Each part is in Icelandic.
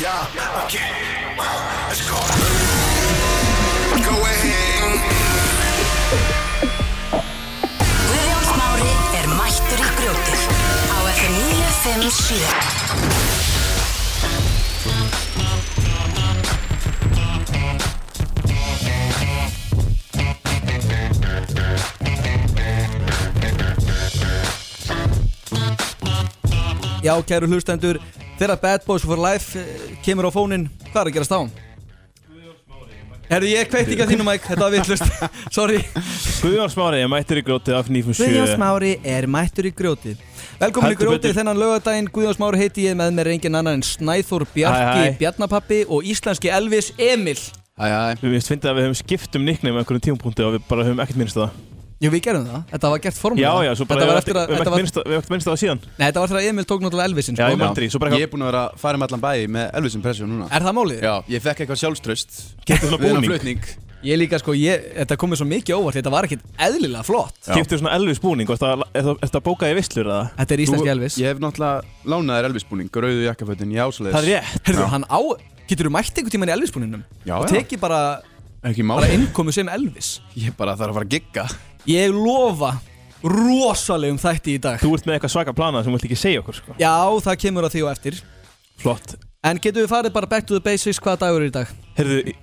Yeah, okay. Let's go. Go ahead. Guðjón Smári er mættur í grjótið á FM 957 Já, kæru hlustendur, þegar Bad Boys for Life eh, kemur á fónin, hvað er að gerast á hann? Herðu, ég kveikt ekki að þínu, Mike, þetta var vittlust, sorry Guðjón Smári, ég mættir í grótið af 957 Guðjón Smári er mættur í grjótið Velkomin í Heldur grjótið betur. þennan lögadaginn Guðjón Smári heiti ég með mér er engin annan en Snæþór Bjarki Hæ, hæ. Bjarnapappi og íslenski Elvis Emil Æ, æ, Við finnst fyndið að við höfum skipt um nickname á einhverjum tímapunkti og við bara höfum ekkert minnst á það Jú, við gerum það, þetta var gert Já, formulega já, svo bara Þetta við var höfum eftir ekkert- að, við höfum þetta var, ekkert um minnst á- við höfum ekkert minnst á það síðan nei, þetta var eftir að Emil tók náttúrulega Elvisin, sko Já, ég man eftir því, svo bara eitthvað ég er búin að vera að fara með allan bæ með Elvis impression núna Er það málið? Já, ég fekk eitthvað sjálfströst Keypti svona Við þennan búning. flutning Ég líka, sko, ég, þetta komið svo mikið á óvart, þetta var ekkit eðlilega flott Kiptið svona Elvis búning, og ertu að- ertu að bóka í vislur eða? Þetta er Nú, íslenski Elvis Ég hef náttúrulega lánað þér Elvis búning Rauðu jakkafötin, já, svo Það er rétt Herðu, hann á, getur þú mætt einhvern tímann í Elvis-búninum? Já, og já. tekið bara, Ekki bara máli innkomu sem Elvis Ég bara þarf að fara að gigga Ég lofa rosalegum þætti í dag Þú ert með eitthvað svaka planað sem þú vilt ekki segja okkur sko. Já, það kemur að því og eftir Flott En getum við farið bara back to the basics hvaða dagur er í dag? Herðu,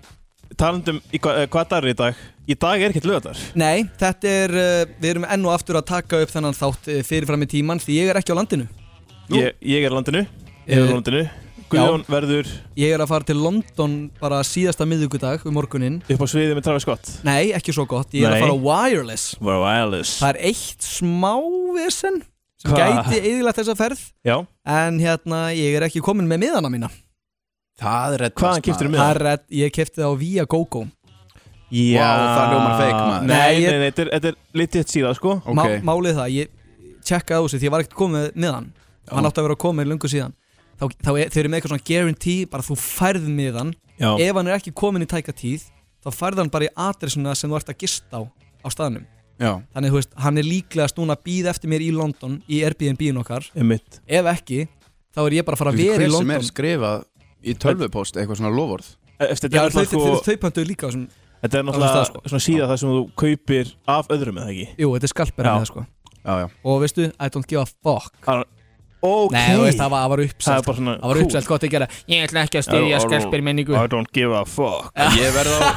talandum í hva, eh, hvað dagur er í dag Í dag er ekkert löðar Nei, þetta er, uh, við erum enn og aftur að taka upp þennan þátt uh, fyrirfram í tímann Því ég er ekki á landinu Nú. ég, ég er á landinu Ég er á Eh, landinu Guðjón verður Ég er að fara til London bara síðasta miðugudag um morguninn upp á sviðið með Travis Scott Nei, ekki svo gott, ég er Nei. að fara á wireless Var wireless Það er eitt smávesen sem Hva? gæti eðilagt þessa ferð Já En hérna, ég er ekki komin með miðana mína Það er rétt sko. Hvaðan keyptirðu miða? Það er að ég kefti það á Via GoGo Já það hljómar fake, maður. Nei, Nei, nei, ég- nei, þetta er- þetta er litið síða sko Ok, okay. Málið það, ég checkaði á þessu því ég var ekkert komið með miðan Hann átti að vera komið lungu síðan Þá, þá er, þau eru með eitthvað svona guarantee, bara þú færð miðan Já Ef hann er ekki komin í tæka tíð Þá færð hann bara í adressuna sem þú ert að gista á á staðnum já Þannig, þú veist, hann er líklegast núna að býða eftir mér í London Í Airbnb-in okkar Emmitt Ef ekki, þá er ég bara að fara að vera í Hver sem London er skrifað í tölvupóst eitthvað svona lofvörð Já, E, Þetta er þau, þau, náttúrulega þau, sko- þau pöntuðu líka á þessum á þetta er þessum náttúrulega stað, sko. svona síða það sem þú kaupir af öðrum eða ekki Jú, þetta er skalpera Já. með það sko Já, já Og veistu, I don't give a fuck Ok Nei, þú veist, það var, það var Það sko. er uppselt bara svona Það var cool. uppselt gott að gera Ég ætla ekki að styðja Já, skalpir menningu I don't give a fuck Ég verð á,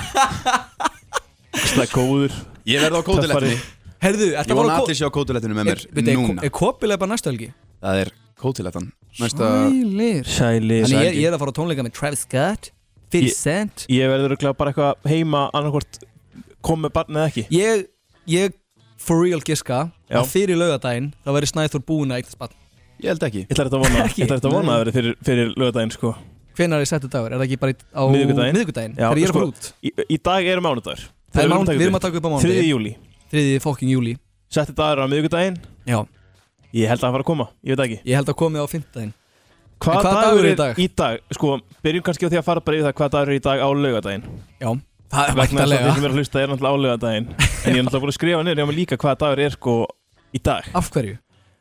Það er góður ég verð á Töffari. kótilettinni Herðu, þetta Ég var vona allir sjá kótilettinu með mér núna Er kopilega bara næstu helgi? Það er kótilettan Næsta Sælir Sæli Þannig ég, helgi. ég er að fara á tónleika með Travis Scott 50 Ég- Cent Ég verður örugglega bara eitthvað heima annarkvort kom með barn eða ekki Ég, ég for real giska Já. að fyrir laugadaginn þá verður Snæþór búin að eitt spann Ég held ekki Ég ætla þetta að vona, Ekki. ég ætla þetta að vona að það verið fyrir, fyrir lögadaginn sko Hvenær er settu dagur? Er það ekki bara í- á Miðvikudaginn. miðvikudaginn? Já, Þegar ég er að sko, fara út Í, í dag er mánudagur Það er mánudag, við erum að taka upp á mánudag 3. júli 3. fokking júli Setti dagur á miðugudaginn Já, Ég held að hann fara að koma, ég veit ekki ég held að komið á 5. daginn Hvað hvaða dagur er í dag? dag? Sko, byrjum kannski á því að fara bara yfir það hvað dagur er í dag á laugadaginn Já, það er Vegna þess að væntalega þeir sem er að hlusta er náttúrulega á laugadaginn En ég er náttúrulega búin að skrifa niður hjá mig líka hvað dagur er sko í dag Af hverju?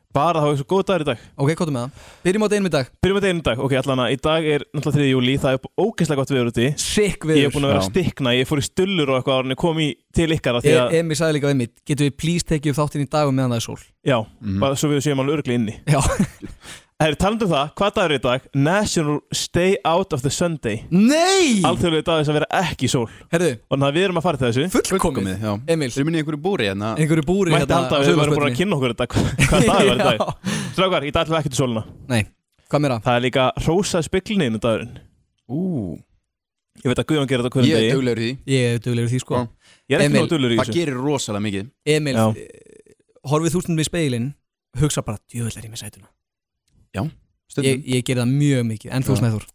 Bara þá er svo góð dagur í dag Ok, hvað er með það? Byrjum á deginum í dag Byrjum að deginum í dag, ok, allan að í dag er náttúrulega 3. júli Það er ógeðslega gott viður úti Sikk Ég viður er búin að vera að Já. stikna, ég fór í stullur og eitthvað áður en ég kom í til ykkar af því að, e Emi sagði líka við mitt Getum við please tekið upp þáttinn í dag og meðan það er sól já, bara svo við séum alveg örgli inni Já Það er talandu um það, hvað dagur er í dag? National Stay Out of the Sunday Nei Alþjóðlega dag þess að vera ekki í sól Herðu, Og þannig að við erum að fara til þessu fullkomið Komið, já Emil. Þeir minni í einhverju búri hérna Einhverju búri Mætti hérna halda að við varum bara að kynna okkur þetta hva- Hvað dag var í dag? Já. Strákar, í dag ætlum við ekki til sóluna Nei, hvað meira? Það er líka rósað speklinni innan dagurinn Ú, Ég veit að Guðjón gerir þetta hverjum ég degi er duglegur í því Ég er duglegur í því sko Já. Ég er ekki Emil, nóg dullur í Það þessu gerir rosalega mikið Emil, Já. eh, horfið þú stundum í speilin Hugsa bara, djöfull er ég með sætuna Ég, Stundum ég gerði það mjög mikið, en þú Já. snæður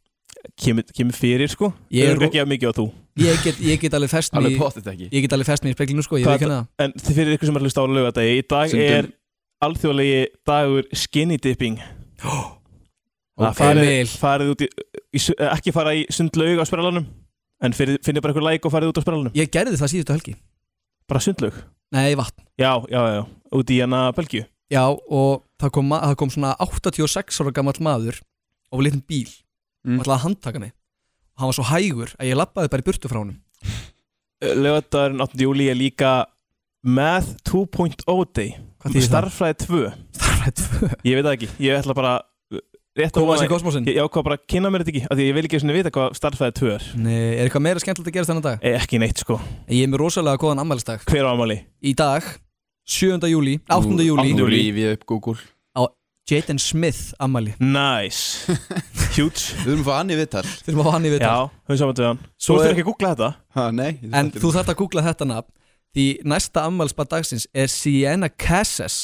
Kemur kemur fyrir sko Ég Ég er er ekki að mikið á þú ég get, ég get alveg fest mig Alveg í- pottet ekki Ég get alveg fest mig í speilinu sko, ég Hvað- veit hérna það En þið fyrir ykkur sem er að hlusta á laugadegi Í dag Stundum. er alþjóðlegi dagur skinny dipping Það Ok. Emil. farið, farið út í, í su- eh, Ekki fara í sundlaug á sprellanum En fyrir, finnir bara eitthvað læk og farið út á sprellanum Ég gerði það síðustu helgi Bara sundlaug Nei, vatn Já, já, já, út í hana Belgíu Já, og það kom, ma- það kom svona 86 ára gamall maður á litlum bíl Mm. og ætlaði að handtaka mig og hann var svo hægur að ég lappaði bara í burtu frá honum Lögðarinn 8. júli er líka Math 2.0 Day Hvað þýðir það? Starfræði 2 Starfrætt tvö. Ég veit það ekki, ég ætla bara uh, rétt að Kólasinn, vona- kosmosinn Ég ég ákvað bara að kynna mér þetta ekki af Því að ég vil ekki svona vita hvað starfræði 2 er Nei, er eitthvað meira skemmtilegt að gerast þennan dag? Eh, Ekki neitt sko Ég er með rosalega góðan ammælistag Hver á amali? Í dag, 7. júli, 8. júli Nú júlí. rífið upp Google Jaden Smith ammæli Nice Huge Við þurfum að fá hann í viðtal Þurfum að fá hann í viðtal Já, höfum saman við hann Svo Svo þú er- þurfir ekki að googla þetta Ha, nei ég En þekki þú þarft að googla þetta nafn Því næsta ammælsbað dagsins er Sienna Casses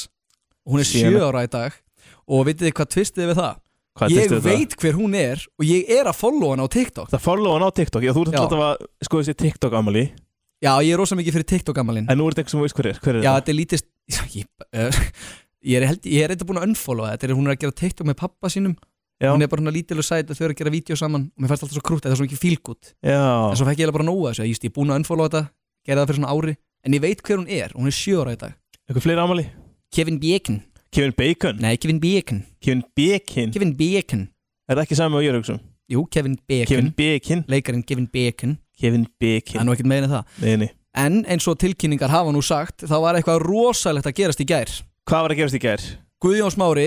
Hún er Sienna. 7 ára í dag Og vitið þið hvað tvistið við það? Hvað ég þetta? veit hver hún er og ég er að followa hana á TikTok Það follow hann á TikTok Já, þú ert Já. alltaf að sko þessi TikTok amali Já, ég er rosa mikið fyrir TikTok gammalinn En nú er þetta eitthvað sem þú veist hver er Hver er Já, þetta? þetta er lítist Ég, uh, ég er held, ég er eitthvað búin að unfollowa þetta er, Hún er að gera TikTok með pappa sínum Já, Hún er bara hún að lítil og sæt og þau eru að gera vídeo saman og mér fannst alltaf svo krútt, þetta er svo mikið fílgút En já svo fekk ég eiginlega bara nóga þessu, ég, veist, ég er búin að unfollowa þetta gera það fyrir svona ári, en ég veit hver hún er Hún er sjö ára í dag Eitthvað fleiri amali? Kevin Bacon, Kevin Bacon nei Kevin Bacon Kevin Bacon Kevin Bacon, Er það ekki saman með Jörgsum? jú Kevin Kevin Bacon Bacon Leikarinn Kevin Bacon, það Kevin er Bacon nú ekkert meina það Nei, nei En eins og tilkynningar hafa nú sagt þá var eitthvað rosalegt að gerast í gær Hvað var að gerast í gær? Guðjón Smári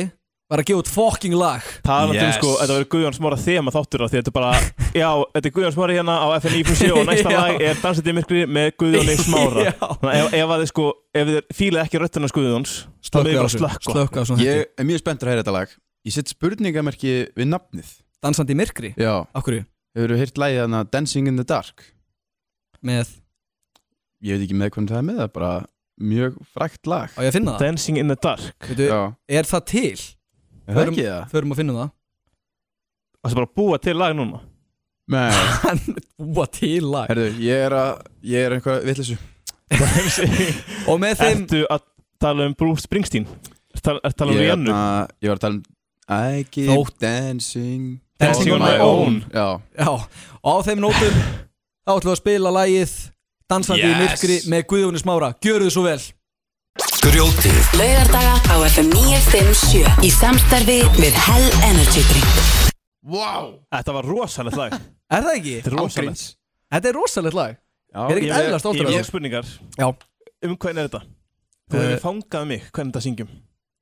var að gefa út fokking lag Talandi um Yes. sko, þetta verður Guðjón Smára þema þáttur á því þetta er bara, já, þetta er Guðjón Smári hérna á FNI.se og næsta Já. lag er Dansandi í myrkri með Guðjóni Smára Já. Þannig að ef, ef að þið sko, ef þið fílið ekki röttina Guðjóns þá Slökkva meður bara þessu, slökka slökkva á svona Ég er mjög spenntur að heyra þetta lag Ég set spurningamerki við nafnið Dansandi í myrkri Já Akkur Hefur þú heyrt lagið hana Dancing in the Dark með Ég veit ekki með hvernig það er með það er Bara mjög frækt lag Á ég að finna það Dancing in the dark Veitu, Já Er það til? Er það Förum- ekki það? Förum að finna það Það er bara að búa til lag núna Nei Hann búa til lag Herðu, ég er að Ég er einhvað vitleysu Og með þeim Ertu að tala um Bruce Springsteen? Ertu að tala um Ég er Rihanna? þarna- Ég var að tala um I keep Þótt. dancing Dancing on my own. Já Já Og á þeim nótum Þá ætlum við að spila lagið Dansandi í Yes. myrkri með Guðjón Smára Gjöru þið svo vel Grjótið Laugardaga á FM 957 Í samstarfi við Hell Energy Drink Wow Þetta var rosalegt lag Þetta Er það ekki? er rosalegt Ágríns Þetta er rosalegt lag Já, Er ég- ekkert eðlilega Ég stoltur vil af fá spurningar Já. Um hvernig er þetta? Þú Eh, hefur fangað mig hvernig þetta syngjum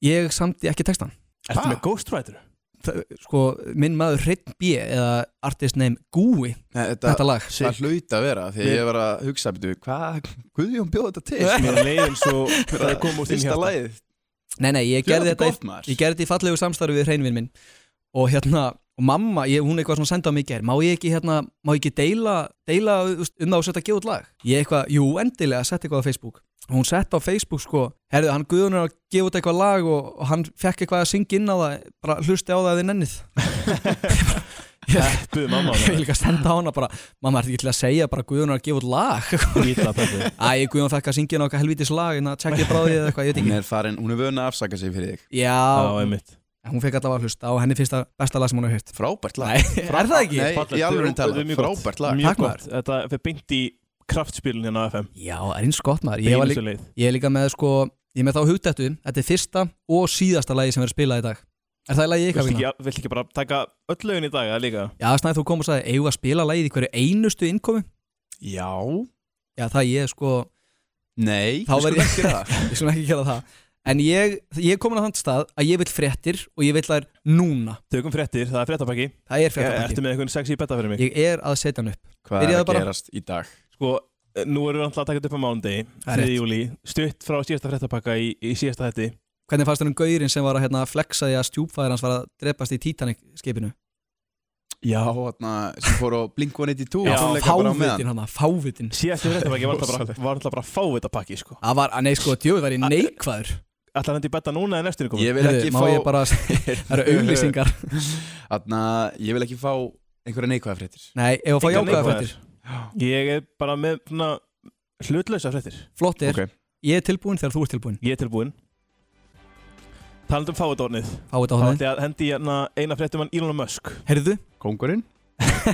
Ég samti ekki textan Ertu Ha? með ghostwriter? það- sko, minn maður Hreinn B eða artist name Gúi Nei, þetta lag Það hlaut að vera því Mér- að ég var að hugsa betur hvað Guðjón bjóð þetta til Mér leiðin svo Það kom úr þín Fyrsta hjarta lagið Nei, nei, ég Þú er gerði þetta þetta gott maður Ég gerði þetta í fallegu samstarfi við hreinvinn minn og hérna, og mamma, ég, hún eitthvað svona senda á mig í gær, má ég ekki hérna, má ég ekki deila, deila þú veist, um það og setja að gefa út lag? Ég eitthvað, jú, endilega, sett eitthvað á Facebook. Og hún sett á Facebook sko, herðu, hann Guðun er að gefa út eitthvað lag og, og hann fekk eitthvað að syngja inn á það, bara hlusti á það að þið nennið. ég Buðu mamma á ég það líka að senda á hana bara, mamma, ertu ekki til að segja bara Guðun er að gefa út lag? Ítla pæti Æ, Guðjón fekk að syngja inn á eitthvað helvítis lag, en að tjekkja bráðið eða eitthvað, ég veit Hún ekki. er farin, hún er vöna að afsaka sig fyrir þig Já, Já, einmitt en hún fekk allavega að hlusta og henni finnst það besta lag sem hún hefur hýrt. Frábært lag Nei, er það ekki? Nei, Fallegt. í alveg Þetta tala, er mjög gott. frábært lag Mjög Takk, gott Þetta fyrir beint í kraftspilin hérna á FM Já, það er eins gott maður. Ég, var Beinustu líka, leið ég er líka með sko, ég er með þá hugdættu, þetta er fyrsta og síðasta lagi sem verður spilað í dag. Er það lagið ykkar Vilt vegna? ekki, vilt ekki bara taka öll lögin í dag eða líka? Já, snæði þú kom og sagði, eigum við að spila lagið í hverju einustu innkomi? Já Já, það ég sko, Nei, Þá við verð skulum ég- ekki gera það ég svona ekki gera það. En ég, ég er komin að þann stað að ég vil fréttir og ég vil þær núna. Tökum fréttir, það er fréttapakki Það er fréttabæki. Ertu með einhvern sexy betta fyrir mig? Ég er að setja hann upp. Hvað er Byrjaðu að bara. gerast í dag? Sko, eh, nú erum við alltaf að taka þetta upp á mándegi Það er 3. rétt. júli, stutt frá síðasta fréttapakka í, í síðasta þetti Hvernig fannst þennan gaurinn sem var að hérna, flexa því að stjúpfæðir hans var að drepast í Titanic skipinu? Já, þarna, sem fór á Blink-182 Já, tónleika bara á meðan. fávitin hann, fávitin. Síðasta fréttapakki var alltaf bara, var alltaf bara fávittapakki sko. Það var, að nei sko, djóði var ég neikvæður. Ætlar hann til betta núna eða næstunni komið? Ég vil sko. Heyrðu, ekki má fá ég bara, það eru auglýsingar Þarna, ég vil ekki fá einhverja neikvæða fréttir Nei, ef að fá Engar jákvæða neikvæðar. fréttir Ég er bara með svona, hlutlausa fréttir Flott er, Ok. ég er tilbúin þegar þú ert tilbúin Ég er tilbúinn Talandi um fávitornið Fá þetta á Þá þannig ætti ég að hendi hérna eina fréttum hann Elon Musk Herðu, Kongurinn?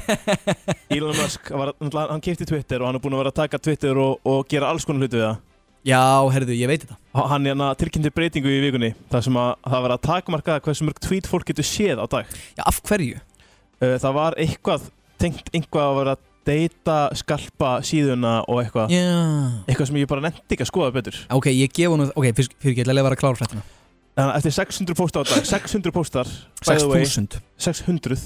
Elon Musk, var, náttúrulega, hann kefti Twitter og hann er búinn að vera að taka Twitter og, og gera alls konar hluti við það já, herðu, ég veit þetta Ha- Hann hérna tilkynnti breytingu í vikunni þar sem að það var að takmarka hversu mörg tweet fólk getur séð á dag Já, af hverju? uh, það var eitthvað tengt einhvað að vera að deyta skalpa síðuna og eitthvað Já eitthvað sem ég bara nefndi ekki að skoða betur Ok, ég gef hún Ok, fyrir, fyrir ekki, ég ætla að vera að klára fréttina Þannig að eftir 600 pósta á dag 600 póstar by the way, 6.000 600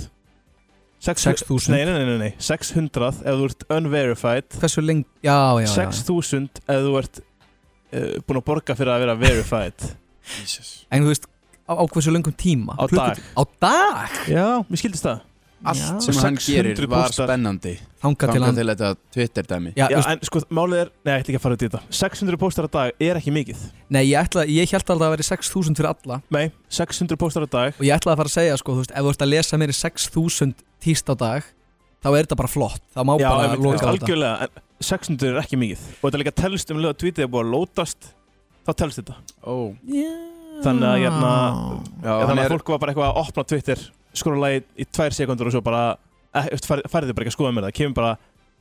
600 Nei, 6.000 nei, nei, nei, nei, 600 ef þú ert unverified Hversu lengi Já, já, já 6000 ef þú ert uh, búin að borga fyrir að vera verified Jesus. En þú veist Á, á hversu lengum tíma Á dag. Klukkut- Á dag Já, mér skildist það Já. Allt sem hann 600 gerir var póstar. spennandi Þanga til Ganga hann til þetta Twitter dæmi Já, Já, já, en sko, málið er, nei, ég ætla ekki að fara út í þetta 600 póstar á dag er ekki mikið Nei, ég ætla Ég held að það væri 6.000 fyrir alla Nei, 600 póstar á dag Og ég ætlaði að fara að segja sko, þú veist, ef þú ert að lesa meiri 6000 tíst á dag Þá er þetta bara flott, það má bara einmitt, loka á þetta algjörlega, en 600 er ekki mikið Og þetta er líka telst um lög að tweetið er búið að lótast Þá telst þetta Ó, Þannig að, hérna, Ah. já, Þannig hann að er fólk var bara eitthvað að opna Twitter Skróla í, í tvær sekundur og svo bara eh, þú veist, fær- Færði bara ekki að skoða meira Það kemur bara,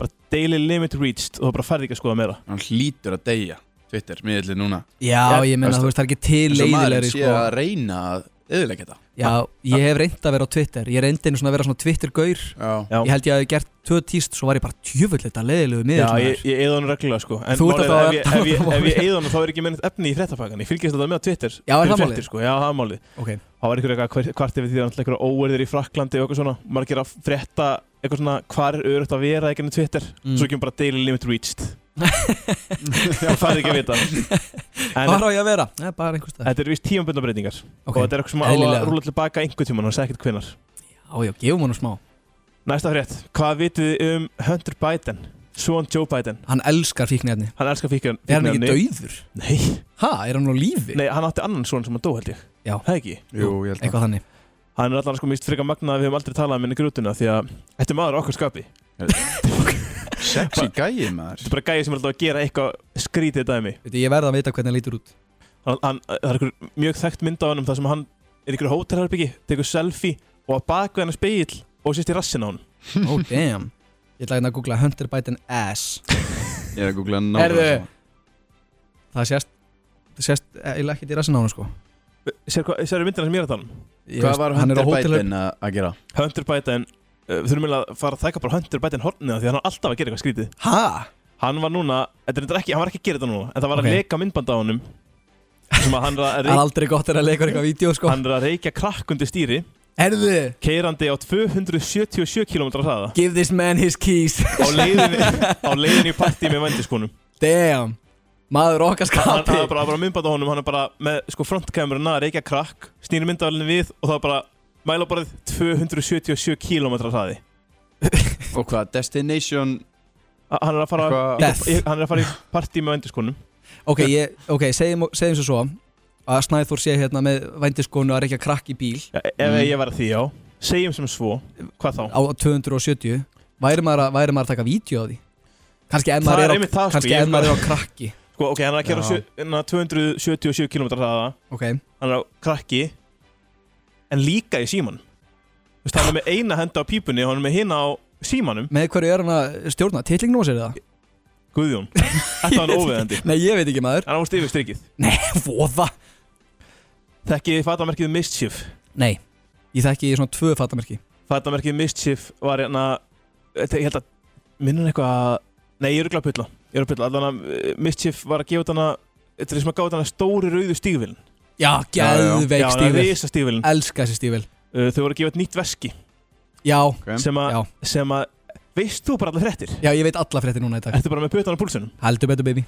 bara daily limit reached Og það bara færði ekki að skoða meira Hann hlýtur að deyja Twitter, miðlið núna Já, ég meina, þú veist, það er ekki til Eins og maður leiðilegri sé sko. að reyna að yðurlega þetta Já, ég hef reynd að vera á Twitter Ég reyndi einu svona að vera svona Twitter-gaur Já, Já. Ég held ég að ég gert tvö tíst, svo var ég bara tjöfull þetta leiðilegu miður Já, ég, ég eða hann reglulega sko En Þú ert málið alltaf er, að- ef ég- ef ég- ef ég eða hann þá er ekki mennit efni í fréttapakkan Ég fylgist þetta með á Twitter Já, er fyrir það málið? fréttir, sko. Já, það er málið Ok, Það var einhver eitthvað hvart yfir því að náttúrulega einhverja óverðir í Fraklandi og eitthvað svona margir að frétta eitthvað svona hvar er örugt að vera eitthvað Twitter Mm. svo kemur bara daily limit reached það færði ekki að vita en hvað á ég að vera? Nei, bara einhvers stað þetta er vist tímanbundna breytingar og Ok, þetta er eitthvað sem á að eðlilega. rúla tilbaka einhver tíma hann sagði ekkert hvinnar já, já, gefum hann smá næsta frétt hvað vitið þið um Hunter Biden Svon Joe Biden Hann elskar fíknefni hann elskar fíkjan Er hann ekki fíkniefni. dauður? Nei. Ha, er hann á lífi? Nei, hann átti annan svon sem hann dó held ég Já. það ekki jú, ég held Eitthvað þannig hann er allan sko mist freka magna að við höfum aldrei talað um henni grútuna því að þetta er maður á okkar skapi að Sexy gæi maður Þetta er bara gæði sem er alltaf að gera eitthvað skrítið dæmi Veitu, Ég verð að vita hvernig hann lítur út hann, hann, Það er einhver mjög þekkt mynd á hann þar sem hann er ykkur hótelherbyggi, tekur selfie og að baka hennar spegil og sést í rassin á hann Oh, damn Ég ætla hérna að googla Hunter Biden ass Ég er að googla nákvæmlega Herðu. sama. Það sést Það sést eh, eiginlega ekkert í rassin á hann sko Sér eru myndina sem ég er að tala um Ég Hvað veist, var hann er á Hunter hótel- Biden að að gera? Hunter Biden, uh, við þurfum eiginlega að fara að þekka bara Hunter Biden hornið af því að hann er alltaf að gera eitthvað skrítið Ha? Hann var núna, þetta er reyndar ekki, hann var ekki að gera þetta núna en það var að Ok. leka myndbanda á honum sem að hann er að Það er reykja, aldrei gott er að leika eitthvað vídeo sko hann er að reykja krakk undir stýri Herðu keirandi á 277 km hraða Give this man his keys á leiðinni, á leiðinni í partí með vændiskonum Damn Maður okkar hann skapi hann er bara, bara myndbætt á honum hann er bara með sko, frontkameruna reykja krakk snýri myndavælinu við og það er bara mælaborðið 277 km hraði Og hvað, Destination A- hann er að fara Eitthvað- í, Death. í, hann er að fara í partí með vendiskonum Ok, ég, ok, segjum, segjum svo svo að Snæþór sé hérna með vændiskonu að reykja krakk í bíl ja, e- ef Mm. ég var að því já segjum sem svo hvað þá á 270 væri maður að, væri maður að taka vídeo á því kannski ef Það maður er er, einmitt á, það, sko, kannski ég ef er maður er á krakki sko, ok hann er að Já. kera sjö, hérna, 277 km hraða ok, hann er á krakki en líka í síman Vist, hann er með eina henda á pípunni og hann er með hina á símanum með hverju er hann að stjórna titlingnum á sér eða? Guðjón þetta var hann óveðandi Nei, ég veit ekki maður hann ást yfir strikið Voða þekkið fatamerkið mischief Nei, ég þekki í svona tvö fattamerki Fattamerkið Mischief var hérna þetta- Ég held að minnum eitthvað Nei, ég er örugglega að pulla Ég er að pulla Allan að eh, Mischief var að gefa út hana Þetta er sem að gáða hana stóri rauðu stígvilin Já, geðveik stífil reysa stígvilin Elska þessi stífil Uh, Þau voru að gefa út nýtt veski Já, Em. Sem að já, Sem að Veist þú bara allar fréttir? já, ég veit alla fréttir núna í dag Ertu bara með putan á púlsunum? Heldur betur baby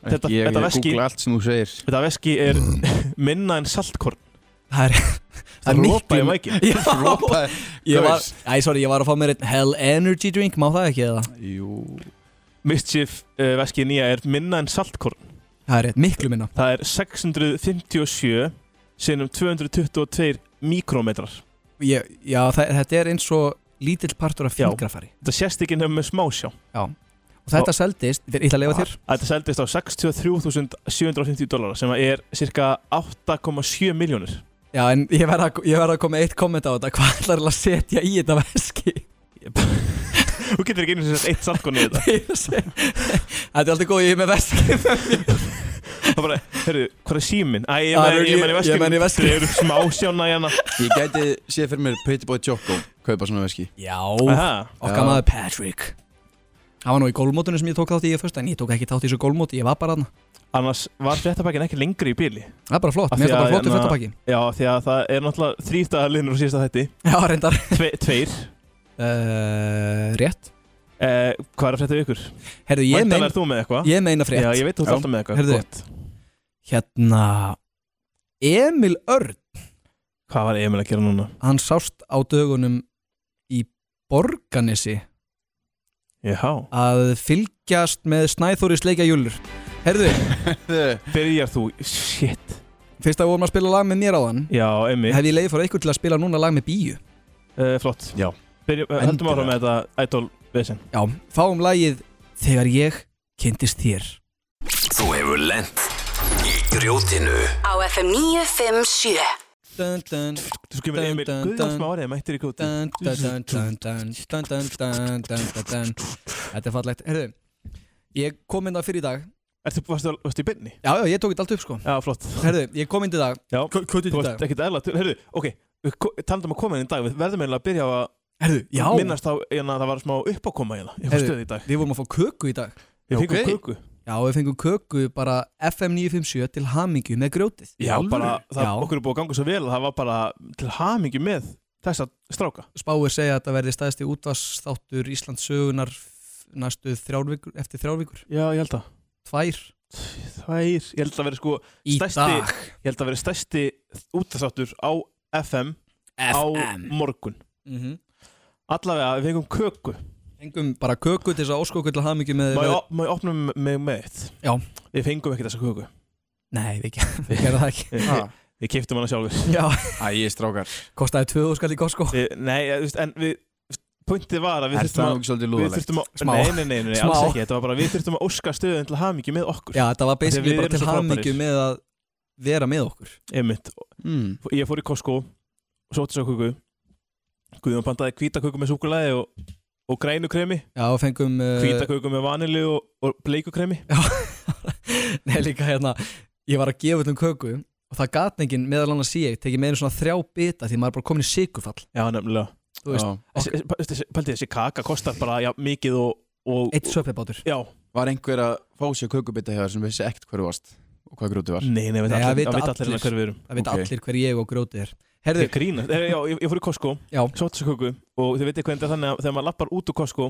Þetta- Ég, ég þetta veski- googla allt sem þú segir Þetta veski er minna en saltkorn Það er, það er Rópa í miklu mæki Já, Rópaði ég var, gaus. æ, sorry, ég var að fá mér einn Hell Energy drink, má það ekki eða? Jú Mischief uh, veski nýja er minna en saltkorn Það er rétt, miklu minna Það er 657 Sinum 222 mikrometrar ég, Já, það, þetta er eins og lítill partur af Já. fingrafari Þetta sést ekki nefnum með smásjá Og þetta seldist, ég ætla að leifa þér Þetta seldist á 63.750 dólarar sem að er cirka 8,7 miljónir Já, en ég verð að, ég verð að koma með eitt komment á þetta Hvað ætlar að setja í þetta veski? Þú getur ekki einu sem sett eitt saltkonni í þetta Ég er að segja- Þetta er alltaf góð, ég er með veski Það bara, herru, hvað er síminn? Æ, ég Ah, menn, ég- ég menn í ég veskinu menn í veskinu. Þeir eru smá sjána í hérna. hana Ég gæti séð fyrir mér Pretty Boy Choco Kaupa svona veski Já, Aha, okkar Já. maður Patrick Það var nú í gólmótunum sem ég tók þátt í ég fyrst En ég tók ekki þátt í þessu gólmóti, ég var bara hann Annars var fréttabækin ekki lengri í bíli Það er bara flott, Af mér er því það bara að, flott í hérna- fyrstapakki Já, því að það er náttúrulega þrýstaðar linnur á síðasta þætti Já, reyndar Tve, Tveir uh, Rétt eh, Hvað er að frétta við ykkur? Herðu, ég, Væntanlega mein, er þú með eitthvað? ég meina frétt Já, ég veit þú ert Já. alltaf með eitthvað Heyrðu. Gott. Hérna Emil Örn, Hvað var Emil að gera núna? hann sást á dögunum í Borganesi Jáhá að fylgjast með Snæþóri sleikja júlur Herðu, Byrjar þú? Shit fyrst að vorum að spila lag með mér á þann Já, Emil Hef ég leiði fór eitthvað til að spila núna lag með bíu uh, Flott Já. Byrjum, eh, Höldum áfram með þetta Idol Vesen Já, fáum lagið Þegar ég kynntist þér Þú hefur lent í grjótinu á FM 957 dun, dun, Þú skilur Dun, Emil dun, Guðjón dun. Smári mættir í kúti dun, dun, dun, dun, dun, dun, dun, dun, dun, dun, dun. Þetta er fallegt Herðu, ég kom inn það fyrir í dag Ertu, varstu, varstu í byrni? Já, já, ég tók þetta allt upp sko Já, flott Herðu, ég kom inn í dag Já, Kvöldið þú varst ekkert eðla Herðu, ok Talandum að koma inn í dag Við verðum eiginlega að byrja á að Herðu, já Minnast á hérna að það var smá uppákoma hérna Heyrðu. Ég fór stöð í dag Við vorum að fá köku í dag Við fengum ok. köku Já, við fengum köku bara FM 957 til hamingju með grjótið Já, bara það, Já. Okkur er búið að ganga svo vel að Það var bara til hamingju með þessa stráka Spáir segja að þetta verði staðist í útvarsþáttur Íslands sögunar næstu þrjárvíkur, eftir þrjárvíkur Já, ég held að Tvær Það er, ég held að vera sko í Stærsti- dag Ég held að vera stærsti útastáttur á FM Á FM morgun mm -hmm. Allavega, við fengum köku Fengum bara köku til þess að óskoku til hamingju með Má ég með- op- má ég opna mig með eitt Já. Við fengum ekki þessa köku Nei, við, ge- við gerum það ekki Við, við kiptum hana sjálfur Já, Æ, strákar kostaði tvöðu skall í sko. Costco Við- Nei, ég- þú veist, en við Pointið var að við Er það þurftum ekki svolítið að Við lúðalegt? þurftum að, Smá. nei, nei, nei, nei, nei Smá. alls ekki Þetta var bara, við þurftum að óska stöðun til hamingju með okkur Já, þetta var Af því basically við bara erum til svo hamingju frábærir. með að vera með okkur Einmitt, Mm. ég fór í Costco og sótti svo kuku Guðjón pantaði hvítaköku með súkulaði og, og grænu kremi Já, og fengum uh, hvítaköku með vanili og, og bleiku kremi Nei, líka hérna, ég var að gefa öllum köku og það gat enginn meðal annars ég tekið með einu svona þrjá bita því maður er bara komin í sigurfall Já, nefnilega Þú veist, Já. Þessi- þessi- þessi- Pældi þessi kaka kostar bara já, mikið og, og eitt söpjabátur Já, Var einhver að fá sér kökubita hjá þér sem vissi ekkert hverju varst og hvað grútið var? nei, nei, Nei, veit það allir, vita það veit allir. allir hérna hver við erum Það veit Ok. allir hver ég og grótið er Herðu, Ég grínast, Eh, já, ég, ég fór í Costco já, sótti svo kuku og þið veitir hvernig það er þannig að þegar maður lappar út úr Costco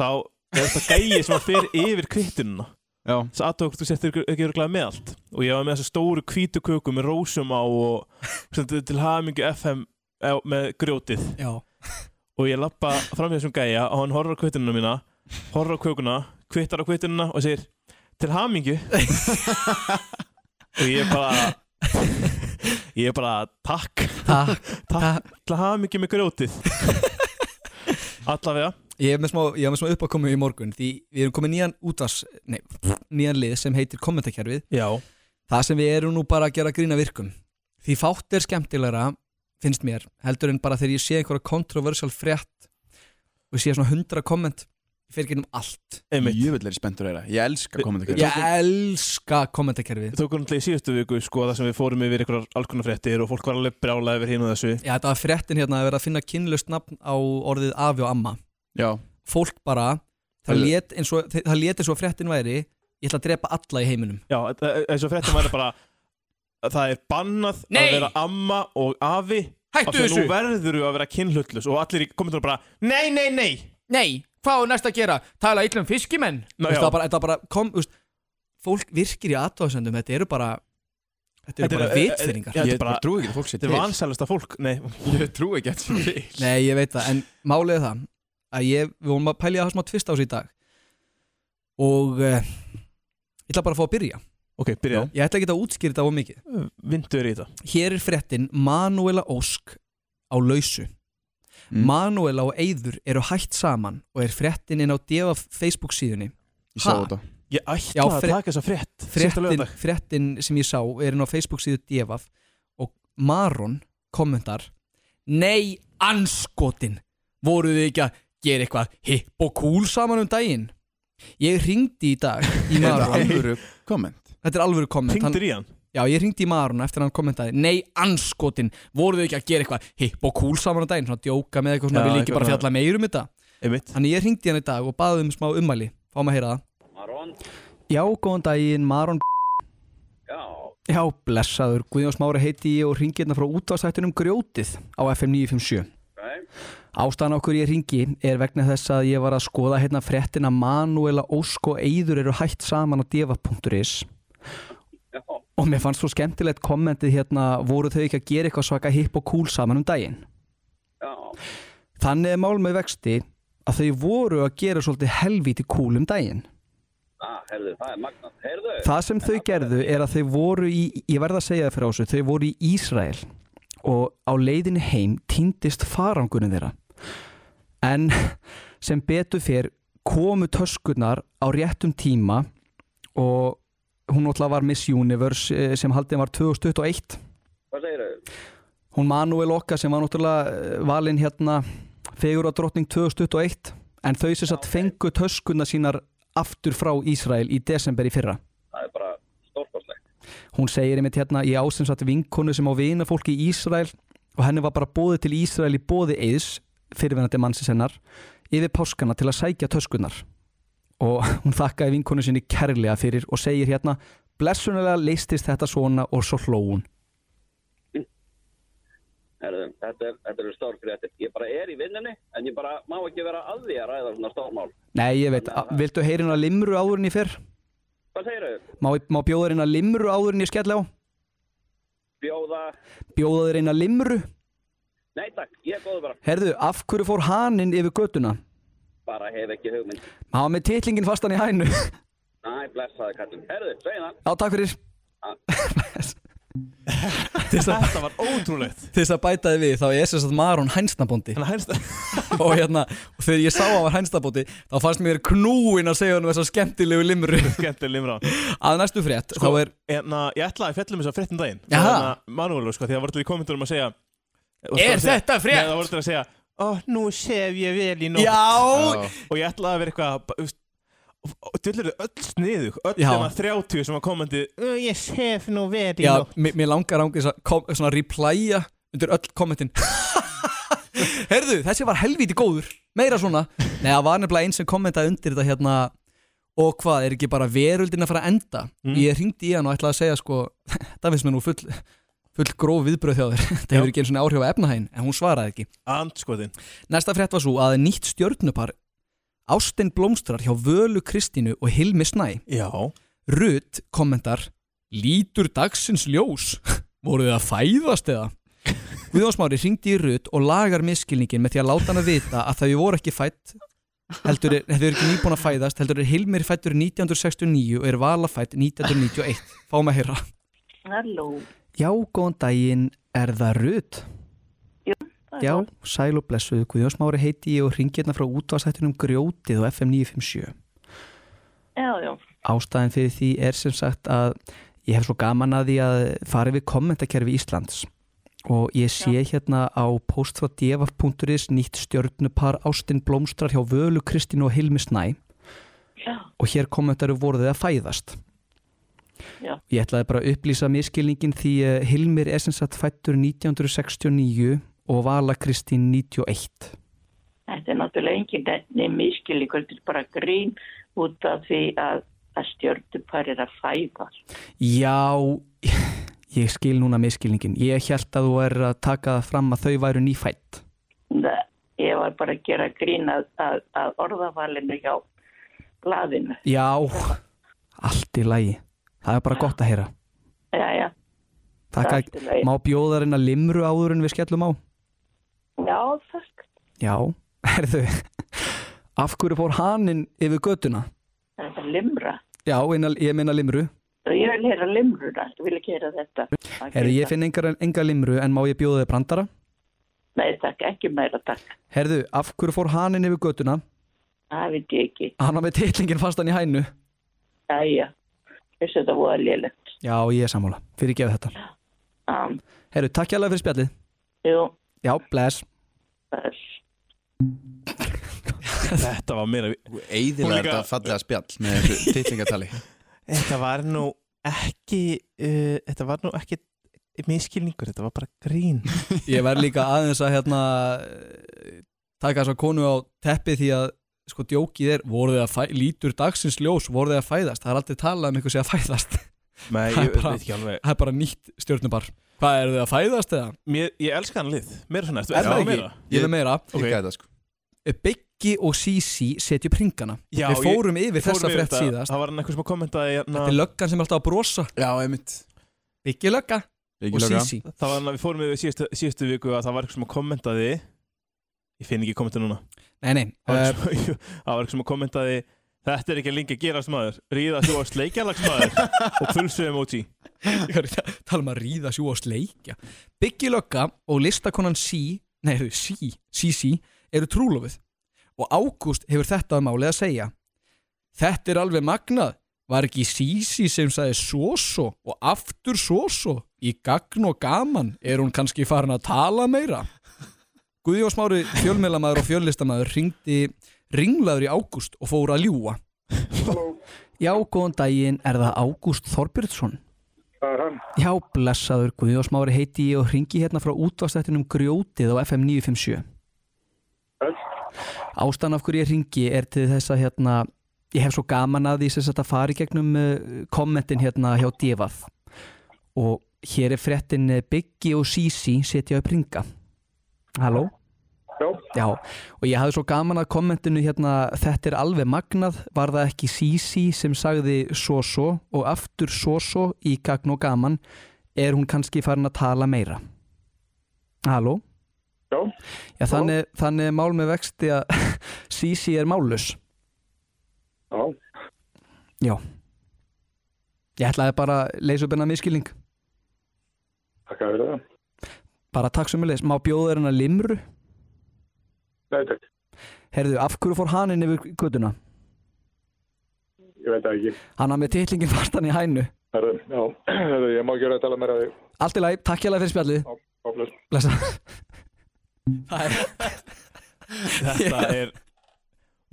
þá er þetta gæi sem að fer yfir kvittununa Já. þess aðtók þú settir ykkur- ekki örglega með allt og ég var með þessa stóru hvítu köku með rósum á og stendur til hamingu FM eh, með grjótið já og ég lappa fram hjá þessum gæja og hann horfir á kvittununa mína horfir á kökuna, kvittar á kvittununa og segir til hamingu og ég bara ég bara takk, Takk, takk til hamingu með grjótið allavega ég er með smá, ég er með smá uppákomu í morgun því við erum komin nýjan útvars nei, nýjan lið sem heitir kommentakerfið já, Það sem við erum nú bara að gera grína virkum Því fátt er skemmtilegra finnst mér, heldur en bara þegar ég sé einhverja kontroversal frétt og sé svona hundra komment ég fer ekki um allt einmitt Ég vil er ég spenntur að þeirra. Ég elska komandi Ég elska kommentakerfið Við tókum náttúrulega í síðustu viku sko þar sem við fórum yfir einhverjar alls konar fréttir og fólk var alveg brjálað yfir hinn og þessu Já, þetta var fréttin hérna að vera að finna kynlust nafn á orðið afi og amma Já. Fólk bara, það Heldur. lét eins og, það lét eins og fréttin væri ég ætla að drepa alla í heiminum Já, e, eins og fréttum væri bara að það er bannað Nei! að vera amma og afi Hættu af því að þessu! Nú verður þú að vera kynhlutlus og allir í kommentunum bara Nei, nei, nei Nei, hvað er næst að gera? Tala illum fiskimenn? Ná, Þú veist, já. það bara, þetta bara kom, þú veist, fólk virkir í aðtóðsendum, þetta eru bara, þetta eru Þetta bara eru- eh, vitfyrringar. e, Já, þetta Ég er bara- trúi ekki að fólk sé Þetta til. er vansælasta fólk Nei, Ég trúi ekki að þetta sé eh, til. Nei, ég veit það, en málið er það að ég, við vorum að pælja það smá tvist á sig í dag og uh, ég ætla bara að fá að byrja. ok, byrja Ég ætla ekki að útskýra þetta á mikið. Vindur í þetta Hér er fréttin Manuela Ósk á lausu. Mm. Manuela og Eyður eru hætt saman og er fréttin inn á DF Facebook síðunni. Ég sá Ha? þetta. Ég ætla Já, að frétt- taka þessa frétt síðasta fréttin, laugardag. fréttin sem ég sá er inn á Facebook síðu Devaf og Maron kommentar Nei, anskotin voruð þið ekki að gera eitthvað hipp og cool saman um daginn Ég ringdi í dag í Er þetta Maron alvöru komment? Þetta er alvöru komment hann, Hringdir í hann? Já, ég ringdi í Marun eftir að hann kommentaði Nei, anskotin, voruð þau ekki að gera eitthvað hipp og cool saman á daginn, svona djóka með eitthvað svona, Já, vil ég ekki eitthvað bara svona. fjalla meir um þetta Einmitt Þannig ég ringdi hann í dag og baði um smá ummæli Fáum að heyra það Marón, Já, góðan daginn, Marun já, Já, blessaður, Guðjón Smári heiti ég og ringi hérna frá útvarstættunum Grjótið á FM 957 nei, Ástæðan okkur ég ringi er vegna þess að ég var að skoða hérna fréttina Manuela Ósk og Eyður eru hætt saman á diva.is já, og mér fannst svo skemmtilegt kommentið hérna voru þau ekki að gera eitthvað svaka hipp og cool saman um daginn. já, Þannig er mál með vexti að þau voru að gera svolítið helvíti cool um daginn. ah, herðu, það er magnað, herðu, Það sem þau gerðu er að þau voru í, ég verð að segja það fyrir þessu, þau voru í Ísrael og á leiðinni heim týndist farangunum þeirra. En sem betur fyrr komu töskurnar á réttum tíma og hún náttúrulega var Miss Universe eh, sem haldin var 2021. hvað segir þau? Hún Manuel Okka sem var náttúrulega eh, valin hérna fegur á drottning 2021 en þau sem satt fengu töskurnar sínar aftur frá Ísrael í desember í fyrra. Það er bara stórkoslegt, Hún segir einmitt hérna í ásinsat vinkonu sem á vina fólki í Ísrael og henni var bara bóðið til Ísrael í bóði eðs fyrirvenandi mannsins hennar yfir páskana til að sækja töskunar og hún þakkaði vinkonu sinni kærlega fyrir og segir hérna blessunulega leistist þetta svona og svo hlóun herðu, þetta er, þetta eru stórfréttir, ég bara er í vinnunni, en ég bara má ekki vera að því að ræða svona stórmál, Nei, ég veit, a- viltu heyrin að limru áðurinn í fyrr? hvað segir þau? Má, má bjóða þér inn að limru áðurinn í skell á? Bjóða, Bjóða þér inn að limru? nei takk, ég er góður bara, Herðu, af hverju fór haninn yfir götuna? bara hef ekki hugmynd, Há með titlingin fastan í hænu Já, næ, blessaði kallum, herðu, segir það, takk fyrir Þetta var ótrúlegt til þess að bæta þið við þá er þess að Maron hænsnabóndi Þannig að hænst og hérna, og þegar ég sá að hann var hænsnabóndi þá fannst mér knúin að segja hann þess að skemmtilegu limru Skemmtileg limra að næstu frétt, Sko, þá er En að ég ætlaði að um fjallum þess að fréttum daginn Jaha. Manúlu sko, því að voru til í kommentunum að segja Er þetta frétt? Nei, það voru til að segja Ó, nú sef ég vel í nótt já, Já. Og ég ætlaði að vera eitthvað bara, þú veist, og- og Dullir þau öll sniðug Öll Já. þeirna 30 sem að kommenti Ég sef nú vel í já, nótt mér, mér langar ángis að kom, svona replya undir öll kommentin herðu, þessi var helvíti góður meira svona, nei það var nefnilega einn sem kommentaði undir þetta hérna og hvað, er ekki bara veröldin að fara að enda ég ringdi í hann og ætlaði að segja sko það finnst mér nú full, full gróf viðbröð þjá þér, það hefur ekki einu svona áhrif á efnahægin en hún svaraði ekki Andskotin Næsta frétt var svo að nýtt stjörnupar Ástin blómstrar hjá Völu Kristínu og Hilmi Snæ Já Rut kommentar Lítur dagsins ljós Voruð þið að fæðast eða? Guðjón Smári ringdi í Rut og lagar miskilningin með því að láta hann að vita að þau voru ekki fætt heldur er, þau eru ekki nýbúin að fæðast heldur er Hilmir fættur 1969 og er Vala fætt 1991 Fáum að heyra Halló. Já, góðan daginn, er það Rut? það er Já, það. sæl og blessuð, Guðjón Smári heiti ég og ringi hérna frá útvarsættunum Grjótið og FM 957. Já, já. Ástæðin fyrir því er sem sagt að ég hef svo gaman að því að fara við kommentakerfi Íslands og ég sé hérna á e postfradevaf.is nýtt stjörnupar Ástin Blómstrar hjá Völu Kristín og Hilmi Snæ Já, og hér kommentaru voruðið að fæðast. Já. Ég ætlaði bara að upplýsa miskilningin því eh, Hilmir er sem sagt fættur 1969 og Vala Kristín 91. þetta er náttúrulega engin nefnir miskilíkur, þetta er bara grín út af því að, að stjörnupar er að fæðast. Já, ég skil núna miskilningin. Ég held að þú er að taka það fram að þau væru nýfætt. Það, ég var bara að gera grín að, að, að orðavalinu hjá blaðinu. Já, allt í lagi. Það er bara gott að heyra. Já, já, Takk Allt í að lagi. má bjóðarinn að limru áður en við skellum á. já, þakk. Já, herðu, af hverju fór hanninn yfir götuna? Það er limra. Já, innan, ég meina limru. Og ég vil heyra limruna, ég vil ekki heyra þetta. Takk Herðu, fyrir ég það. finn engar, enga limru en má ég bjóða þið brandara? Nei, takk, ekki meira takk. Herðu, af hverju fór hanninn yfir götuna? Það veit ég ekki. Hann var með titlingin fastan í hænu. Æja, þessu þetta voru lélegt. Já, ég er sammála. Fyrir gefa þetta. Um, Herðu, takk hjá fyrir spjallið. jú, Já, bless. það er... Þetta var meira Eðilega Hún líka- þetta fallega spjall með þessu titlingatali Þetta var nú ekki uh, þetta var nú ekki miskilningur, þetta var bara grín Ég verð líka aðeins að hérna eh, taka þessa konu á teppi því að sko djókið er voru þið að fæ, lítur dagsins ljós, voru þið að fæðast það er aldrei talað um ykkur sé að fæðast Nei, Það er ég veit bara- ekki alveg það er bara nýtt stjórnubar Hvað eru þið að fæðast eða? Mér, Ég elska hann lið, meira svona, ertu Er það elskar ekki? meira? Ég vil meira Eh, Ég gæti það sko Biggi og Sisi setju pringana Já, Við fórum yfir þessa fórum yfir frétt þetta. síðast Það var hann eitthvað sem að kommentaði hérna, Þetta er löggan sem er alltaf að brosa Já, einmitt Biggi lögga og Sisi Það var hann að við fórum yfir síðustu, síðustu viku að það var eitthvað sem að kommentaði Ég finn ekki kommentu núna Nei, nei, eh, Það var eitthvað sem- það var eitthvað sem að kommentaði Þetta er ekki lengi að gerast maður Ríða þú á sleikjalags maður Og pulsu emoji Ég var að tala um að ríða sjú á sleikja Biggi Lögga og listakonan Sí Nei, heyrðu, Sí, Sí Sí eru trúlofuð og Ágúst hefur þetta að málið að segja Þetta er alveg magnað Var ekki Sísi sem sagði svo-svo og aftur svo-svo í gagn og gaman er hún kannski farin að tala meira Guðjón Smári fjölmiðlamaður og fjöllistamæður ringdi ringlaður í Ágúst og fór að ljúa Já, góðan daginn, er það Ágúst Þorbjörnsson? Já, blessaður Guðjón Smári heiti ég og ringi hérna frá útvarstættinum Grjótið á FM 957. Ástæðan af hverju ég ringi er til þess að hérna, ég hef svo gaman að því sem sagt að fara í gegnum uh, kommentin hérna hjá Divaf. Og hér er fréttin eh, Biggi og Sisi setja upp ringa. Halló? Já, og ég hafði svo gaman að kommentinu hérna þetta er alveg magnað, var það ekki Sisi sem sagði svo svo og aftur svo svo í gagn og gaman er hún kannski farin að tala meira Halló? Já. Já, þannig, þannig er mál með vexti að Sisi er mállus Já, Já Ég ætlaði bara að leysa upp hennar miskilning takk að vera það. bara takk sem leys, má bjóða þér hennar limru Nei, takk. Herðu, af hverju fór hann inn yfir göduna? Ég veit það ekki. Hann hafði með titlingin fastan í hænu Herru, já, herru, ég má ekki vera að tala meira við. Allt í lagi, takk hérlega fyrir spjallið Áflöð. Blessa Það er, Þetta er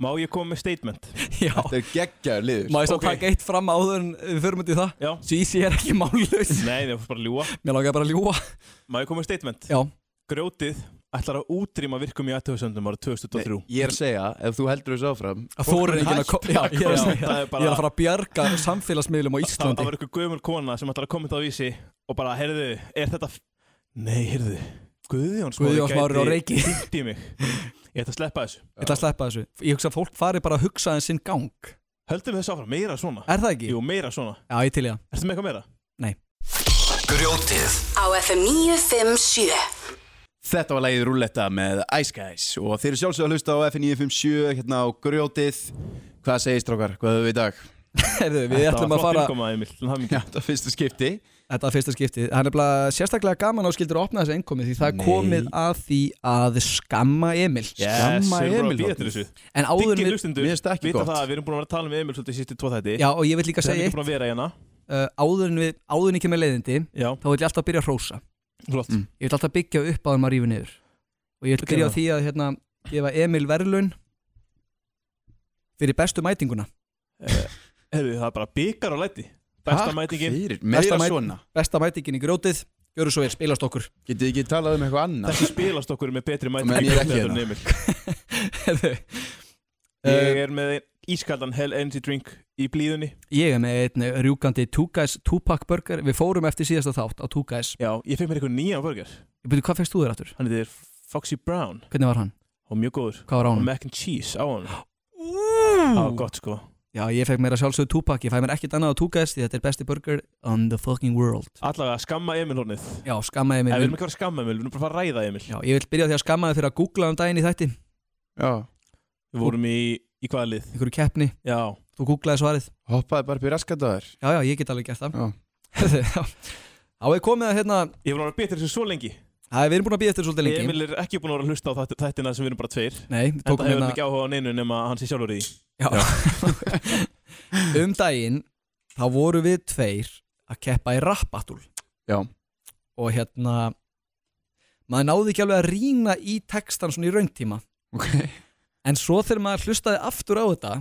Má ég koma með statement? já Þetta er geggjaður liður Má ég svo Ok. taka eitt fram áður en við förum út í það Já Sísi er ekki mállaus Nei, það fórst bara að ljúa Mér langar bara að ljúa Má ég koma með statement? Já, Grjótið ætlar að útrýma virkum í aðtöðsöndum ára 2003 Ég er að segja, ef þú heldur þessu áfram að þóra enginn að koma Já, ég er að Já, segja það er bara- Ég er að fara að bjarga samfélagsmiðlum á Það það Íslandi var einhver gömul kona sem ætlar að kommenta á vísi og bara, heyrðu, er þetta f- Nei, heyrðu, Guðjón Smári Guðjón Smári gæti á Reyki. hringt í mig Ég ætla að sleppa þessu Ég ætla að sleppa þessu Ég hugsa að fólk fari bara að hugsa en sinn gang Höldum við þessu áfram, meira svona Er það ekki? Jú, meira svona Já, ég til ég það Ertu með eitthvað meira? Grjótið á FM 957 Þetta var lagið Rúletta með Ice Guys og þeir eru sjálfsög að hlusta á FN957 hérna á grjótið. Hvað segist drákar? Hvað höfum við í dag? Herðu, við ætlum að fara Það var flott innkoma, Emil, til hamingju. Já, þetta er fyrsta skipti. Þetta er fyrsta skiptið. Það er nefnilega sérstaklega gaman áskildur að opna þessu einkomið því það er Nei. komið að því að skamma Emil Yes, Skamma við erum bara Emil að býða þarna. til þessu En áður Diggir en við hlustundur, mér finnst það ekki vita gott. það að við erum búin að vera að tala með Emil svolítið í síðustu tvo þætti Já, og ég vil líka Við erum segja ekki eitt búin að vera hérna uh, áður en við, áður en ég kemur leiðindi Já, þá vil ég alltaf byrja að hrósa flott Mm. ég vil alltaf byggja upp áður en maður rífur niður og ég vil Þetta byrja er á því að hérna, gefa Emil Verlun fyrir bestu mætinguna Heyrðu, það er bara byggar á læti Besta Takk mætingin Fyrir, Besta meira mæt- svona. besta mætingin í grjótið, gjöru svo vel, spilast okkur Getið þið ekki talað um eitthvað annað? Þessi spilast okkur með betri meðan mæting ég er ekki heldur en hérna. Emil. ég Ég er með ískaldan Hell Energy Drink í blíðunni ég er með einn rjúkandi Two Guys Tupac Burger, við fórum eftir síðasta þátt á Two Guys, Já, ég fekk mér eitthvað nýjan burger ég byrju hvað fegst þú þér aftur? Hann heitir Foxy Brown hvernig var hann? og mjög góður Hvað var á og hann? mac and cheese á hann Það var Úúú gott sko Já, ég fekk meira sjálfsögðu Tupac, ég fæ mér ekkert annað á Two Guys því þetta er besti burger on the fucking world Allavega skamma Emil hornið Já, skammaði En mig við erum ekki að fara að skamma Emil, við erum bara að fara að ræða Emil Já, ég vil byrja á því að skamma þig fyrir að googla um daginn í þætti Já, Við vorum í, í hvaða lið einhverju keppni, Já, þú googlaði svarið hoppaði bara upp í raskat á þér. Já, já, ég get alveg gert það Já. Já, ég komið að hérna ég var að vera betur þessu svo lengi Það er við erum búin að býja eftir svolítið lengi Emil er ekki búin að vera að hlusta á þætt- þættina sem við erum bara tveir Nei, við Þetta tókum hefur hann hérna ekki áhuga á neinu nema hann sé sjálfur í því já. Um daginn þá voru við tveir að keppa í rappatúl Já. Og hérna maður náði ekki alveg að rýna í textan svona í raungtíma Ok. En svo þegar maður hlustaði aftur á þetta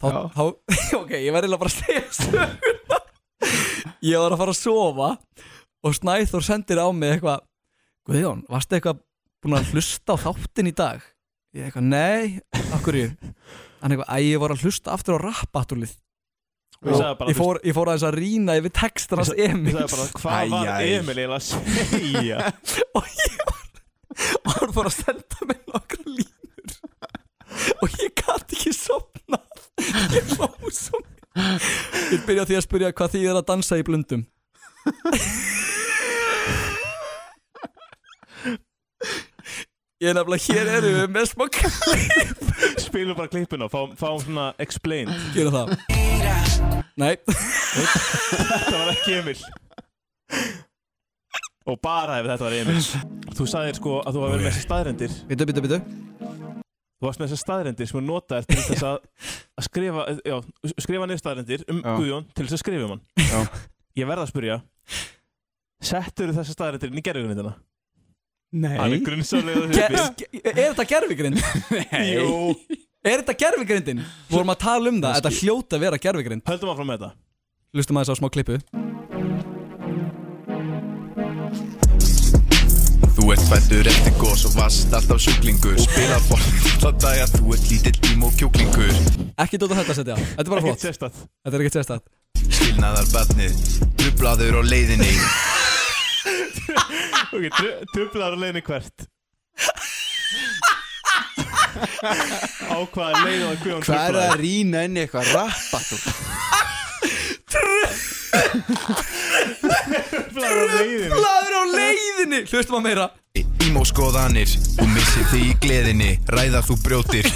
Þá, Já. þá ok, ég verði bara að segja söguna ég var að fara að sofa og Snæþór sendir á mig eitthvað Guðjón, varstu eitthvað búin að hlusta á þáttin í dag? Ég eitthvað, nei, af hverju? Hann eitthvað, æ, ég var að hlusta aftur á rapbatúlið Ég sagði bara, ég fór, ég fór aðeins að rýna yfir textan hans ég Emil sagði bara hvað var Æ, æ. Emil eiginlega að segja og ég var og hann fór að senda mig nokkra línur og ég gæti ekki sopna ég hló svo mikið. ég byrja á því að spyrja hvað því er að dansa í blundum ég er nefnilega hér erum við með smá klip Spilum bara klippin og fáum, fáum svona explained gera það nei, Þetta var ekki Emil Og bara ef þetta var Emil Þú sagðir sko að þú var verið með þessar staðrendir bitu, bitu, bitu Þú varst með þessar staðrendir sem þú notaðir til þess að, að skrifa, já, skrifa niður staðrendir um Já. Guðjón til þess að skrifa um hann Já. Ég verð að spurja Settur þessar staðrendir inn í gerðugmyndina? Hann er nei grunnsóðlega Ger, er þetta gerfigrind? Jú Er þetta gerfigrindin? Við vorum að tala um það, þetta hljóta að vera gerfigrind Höldum áfram með þetta Lustum aðeins á smá klippu Þú ert fættur eftir gos og vast alltaf sjúklingur Spilar fólk alla daga, þú ert lítill tím og kjúklingur Ekki dóta þetta setja, þetta er bara Ekkert flott sérstætt Þetta er ekkert sérstætt Skilnaðar barnið, drublaður á leiðinni Ok, dublar að leiðinni hvert Á hvaða leið var Guðjón Hvað er truflaður? að rýna inn í eitthvað rapbatúl? Dublar að leiðinni Blaður á leiðinni, hlustum að meira Ímó skoðanir, þú missir þig í gleðinni Ræðar þú brjótir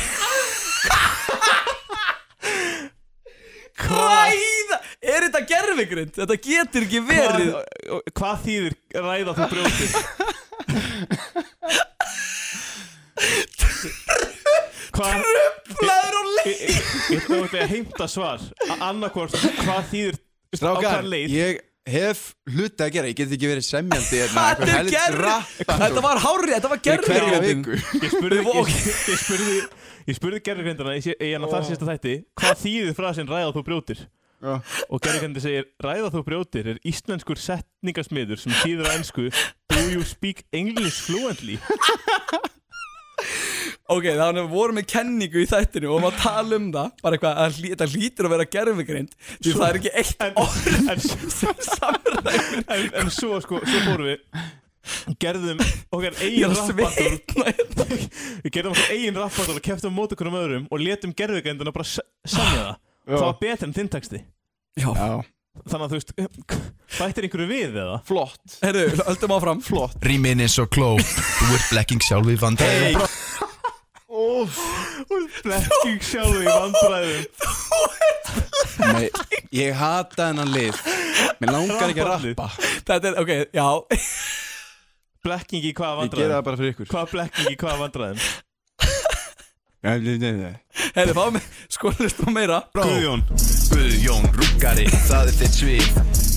Ræða, er þetta gerfigrind? Þetta getur ekki verið hvað, og- hvað þýðir ræða þú brjótið? hvað Blaður á leiðinni Ég þú ætla að heimta svar A- annarkvort hvað þýðir á Strákar, hvað leið ég hef hluti að gera Ég get ekki verið semjandi hérna Þetta er gerfigrind Þetta var hárið, þetta var Hverja gerfigrind viku ég spurði Við- ok. ég, ég spurði ég spurði gerðurgrindana í hann að þar sérsta þætti hvað þýðir frasin ræða þú brjótir Já. og gerðurgrindi segir ræða þú brjótir er íslenskur setningasmiður sem þýðir á ennsku do you speak English fluently Ok, þannig að við vorum með kenningu í þættinu og maður tala um það bara eitthvað, að hlý- þetta lítur að vera gerfigrind því það er ekki eitt en, orð en sem samræður en, en svo sko, svo fórum við gerðum okkar Ég er eigin að rappatur svitna hérna við gerðum okkar eigin rappatur og keftum mót okkur um öðrum og letum gerðugendina bara sa- semja það það var betur en þinn texti Já, Já, þannig að þú veist, bættir einhverju við eða flott herru, höldum áfram Flott Rýmin eins og kló, þú ert blekking sjálf í vandræðum Hey, blekking sjálf í vandræðum nei, Ég hata hennan lið Mér langar ekki að Rappallið. rappa Þetta er, ok, já blekking í hvaða Ég gera það vandræðum bara fyrir ykkur hvað blekking í hvaða vandræðum Nei, nei, nei, nei. Herri, fáum við skoðlust á meira Guðjón Guðjón, rúkari, það er þitt svið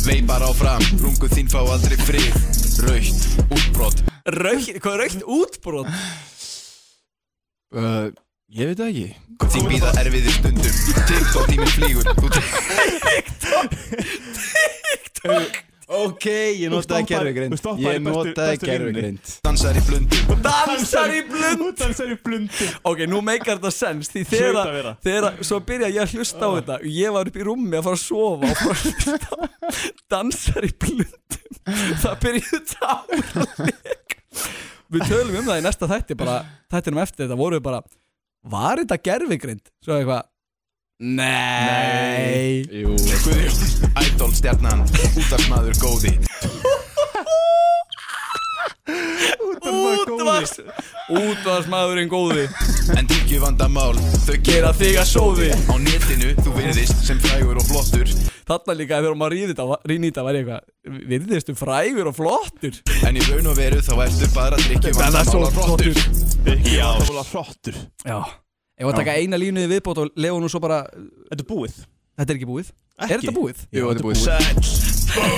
Veipar áfram, rungu þín fá aldrei frið Raukt, útbrott, Raukt, hvað er raukt útbrot? Uh, Ég veit það ekki þín býða erfiðir stundum TikTok tíminn flýgur, þú tekur Ok, ég notaði notaði gervigreind. gerfugrind Ég Ég notaði notaði gervigreind. gerfugrind dansar í blundum Dansar í blund dansar í blundu Ok, nú meikar þetta sens Því Hlaut þegar að vera. Ah. að- þegar að- Svo byrja ég að hlusta á þetta Ég var upp í rúmi að fara að sofa Og fara að hlusta á Dansar í blundum Það byrjuðu táleik Við tölum um það í næsta þætti bara, Þættinum eftir þetta voru við bara Var þetta gerfigrind? Svo eitthvað Nei, Nei. Jú Guðjón, idol stjarnan, útarsmaður góði Útvars Útvarsmaðurinn góði En drikju vandamál, þau gera Gera þig að sóði Á netinu, þú virðist sem frægur og flottur Þarna líka þegar maður rýði þetta, rýni þetta var ég eitthvað Virðistu frægur og flottur En í raun og veru þá ertu bara drikju Þetta er vandamál svo á flottur flottur ekki vandamál flottur Já Ég var að taka eina línu í viðbót og lega nú svo bara þetta er búið Þetta er ekki búið Er Ekki. þetta búið? Jú, þetta er búið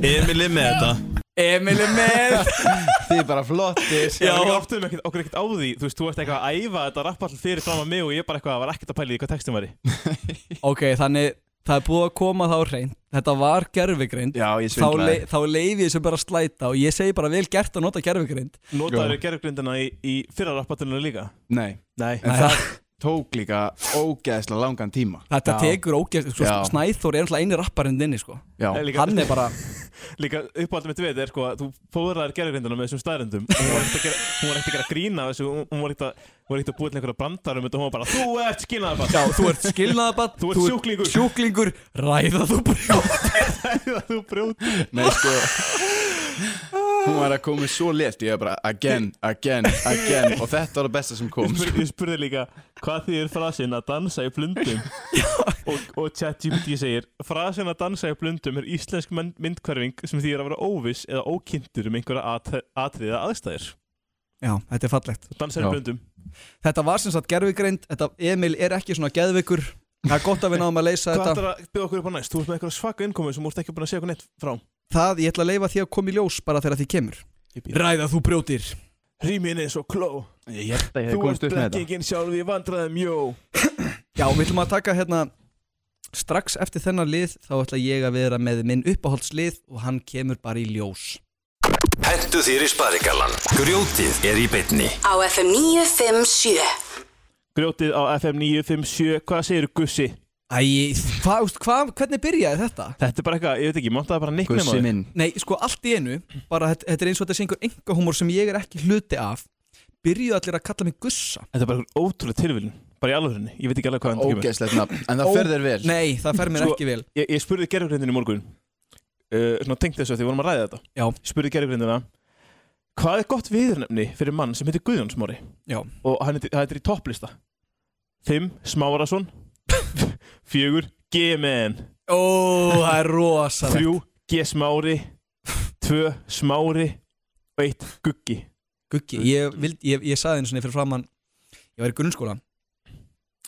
Emil er með þetta Emil er með Þið er bara flottir Já, við áttum ekkert, okkur ekkert á því Þú veist, þú ert eitthvað að æfa þetta rappall fyrir fram að mig og ég bara eitthvað var ekkert að pæla í því hvað textin var í Ok, þannig það er búið að koma þá hreint Þetta var gerfigreind Já, ég Þá, le, svindlaði þá leifi ég sem bara að slæta og ég segi bara vel gert að nota gerfigreind Notaður gerðgrindina í, í fyrra rappatunum líka? Nei, Nei en það tók líka ógeðslega langan tíma Þetta Já. tekur ógeð sko, Já. Snæþór er alltaf eini rapparinn inni sko. Já, Nei, líka, Hann er bara líka uppáhaldum mitt við er sko að þú fóðraðir gerðgrindina með þessum staðrendum hún var ekkert að gera- hún var ekkert að gera grína þessu hún hún var ekkert að, hún var ekkert að búið til einhverja brandarum og hún var bara þú ert skilnaðar Já, þú ert skilnaðabatt Þú ert sjúklingur. sjúklingur Ræða þú brjótt bara þú brjóti nei sko Hún var að koma svo létt, ég er bara again, again, again Og þetta var það besta sem kom Ég sko. spurði, ég spurði líka hvað þýðir frasinn að dansa í blundum og, og ChatGPT segir frasinn að dansa í blundum er íslensk mynd- myndhverfing sem þýðir að vera óviss eða ókynntur um einhverja at atriða aðstæðir Já, þetta er fallegt dansa í Já. blundum Þetta var sem sagt gerfigreind Þetta Emil er ekki svona geðvikur Það er gott að við náðum að leysa Hvað þetta ætlar að byggja okkur upp á næst? Þú ert með eitthvað svaka innkomi sem þú ert ekki búin að segja okkur neitt frá Það ég ætla að leifa því að koma í ljós bara þegar því kemur Ég býð. Ræða þú brjótir Rýmin er svo kló Ég held að ég Þú ert blekkingin sjálf í vandræðum, jó Já, við ætlum að taka hérna strax eftir þennan lið þá ætla ég að vera með minn uppáhaldslið og hann kemur bara í ljós Hentu þér í sparigallan. Grjótið er í bytni. á FM 957 Grjótið á FM 957, hvað segir Gussi? Æ, hvað, veist, hvað, hvernig byrjaði þetta? Þetta er bara eitthvað, ég veit ekki, mántaði bara nicknum Gussi minn Nei, sko, allt í einu bara þetta, þetta er eins og þetta sé einhver engahúmor sem ég er ekki hluti af byrjuðu allir að kalla mig Gussa Þetta er bara eitthvað ótrúlega tilvílun, bara í alvörinni Ég veit ekki alveg hvað hann kemur Ógeðslegt nafn, en það fer þér vel Nei, það fer mér Sko- ekki vel ég, ég spurði gerðurgrindin í morgun uh, Svona tengt þessu að því vorum að ræða þetta Já. Ég spurði gerðurgrindina Hvað er gott viðurnefni fyrir mann sem heitir Guðjónsmári? Já. Og hann heitir, hann heitir í topplista 5. Smárasson 4. G-Men Ó, það er rosalegt 3. G-Smári 2. Smári og 1. Guggi Guggi, ég, vild, ég, ég saði einu svona fyrir framann ég var í grunnskóla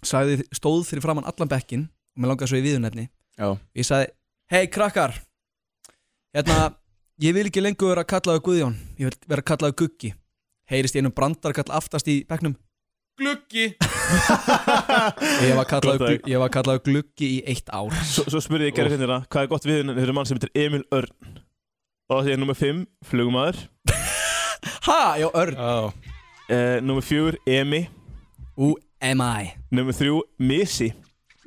sagði, stóð fyrir framann allan bekkin og mér langaði svo í viðunefni Já. ég sagði, hei krakkar hérna, ég vil ekki lengur vera kallaðu Guðjón, ég vil vera kallaðu Guggi heyrist í einum brandarkall aftast í bekknum Gluggi ég var Gott kallaðu, dag. Glu- ég var kallaðu Gluggi í eitt ár Svo, svo spurði ég gerðurgrindina Hvað er gott viðurnefni fyrir mann sem heitir Emil Örn Og það er nummer 5, flugumæður ha, já, örn, uh, Nummer 4, Emi U-M-I Nummer 3, Misi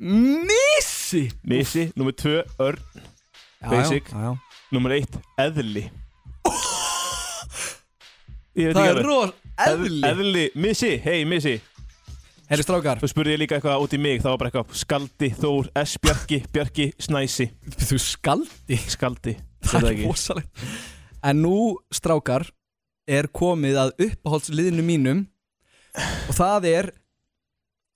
Missi Misi, nummer 2, Örn Já, Basic. já, já. Nummer 1, Eðli Ég veit það ekki er alveg. ros, eðli Eðli, Misi, hei Misi herri strákar, Svo spurði ég líka eitthvað út í mig Það var bara eitthvað Skaldi, Þór, S, Bjarki, Bjarki, Snæsi þú skaldi Skaldi Það Þetta er rosalegt En nú, strákar, er komið að uppáhaldsliðinu mínum og það er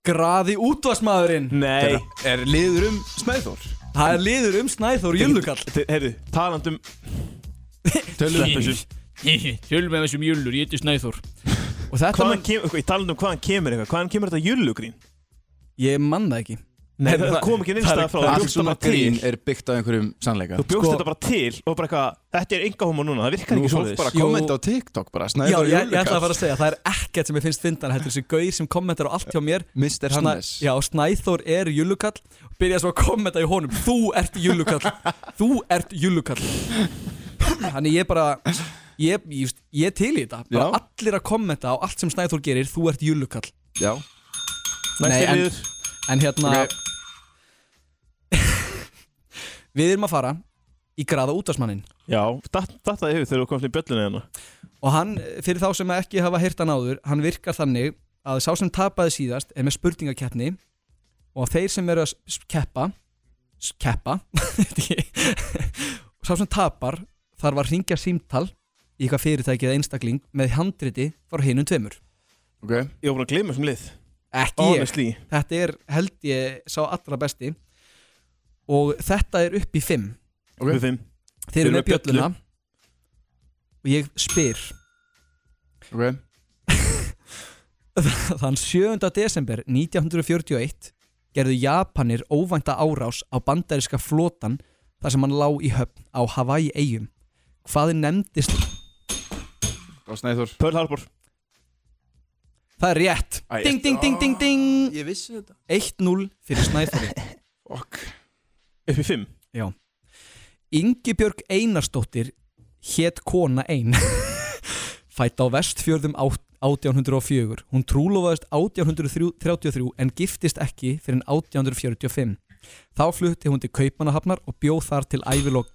Graði útvarsmaðurinn Nei Er liður um Snæþór? Það er liður um Snæþór Jullukall Þeir- Heyrðu, um talandum Tölum Slepp þessu. Hjölum með þessum jullur, ég heiti Snæþór Og þetta Hvaðan með, kemur, í talandum hvaðan kemur eitthvað Hvaðan kemur þetta jullugrín? ég mann það ekki Nei, það, kom ekki Það neins er- það frá Allt þú bjóst svona þetta bara grín til. er byggt á einhverjum sannleika Þú bjóst Sko- þetta bara til og bara eitthvað Þetta er enga núna, það virkar Nú ekki fólk svoleiðis bara Jú. kommenta á TikTok bara Já, Snæður ég, ég ætla að fara að segja, það er ekkert sem ég finnst fyndan Þetta er þessi gauð sem kommentar á allt hjá mér Mr. Hannes Já, Snæþór er Jullukall og byrja svo að kommenta í honum Þú ert Jullukall, þú ert Jullukall Þannig ég bara Ég, ég, just, ég er til í þetta bara Já. Allir að kommenta á allt sem Snæþór gerir Þú ert Jullukall Já. Nei, Næsti en- liður En hérna Ok. Við erum að fara í graða útvarsmannin Já, datt- datt það í hug þegar þú komst í bjöllunni hérna Og hann, fyrir þá sem ekki hafa heyrt hann áður Hann virkar þannig að sá sem tapaði síðast Er með spurningakeppni Og að þeir sem eru að s- keppa s- Keppa veit ekki. Og sá sem tapar Þarf að ringja símtal Í eitthvað fyrirtæki eða einstakling Með handriti frá hinum tveimur Ok Ég var búin að gleyma þessum lið Ekki ég Honestly Þetta er, held ég, sá allra besti Og þetta er upp í fimm Ok. Við þeim Þeir eru Þeir eru með með bjölluna Og ég spyr Ok Þann 7. desember 1941 gerðu Japanir óvænta árás á bandaríska flotan þar sem hann lá í höfn á Hawaii eigum Hvað nefndist? Og Snæður Pearl Harbor Það er rétt Æ, Ding, ding, ding, ding, ding Ég vissi þetta 1-0 fyrir Snæfari Ok upp í fimm Já Ingibjörg Einarsdóttir hét kona ein Fætt á vestfjörðum átt- 1804 Hún trúlofaðist 1833 en giftist ekki fyrir 1845 Þá flutti hún til Kaupanahafnar og bjóð þar til ævilog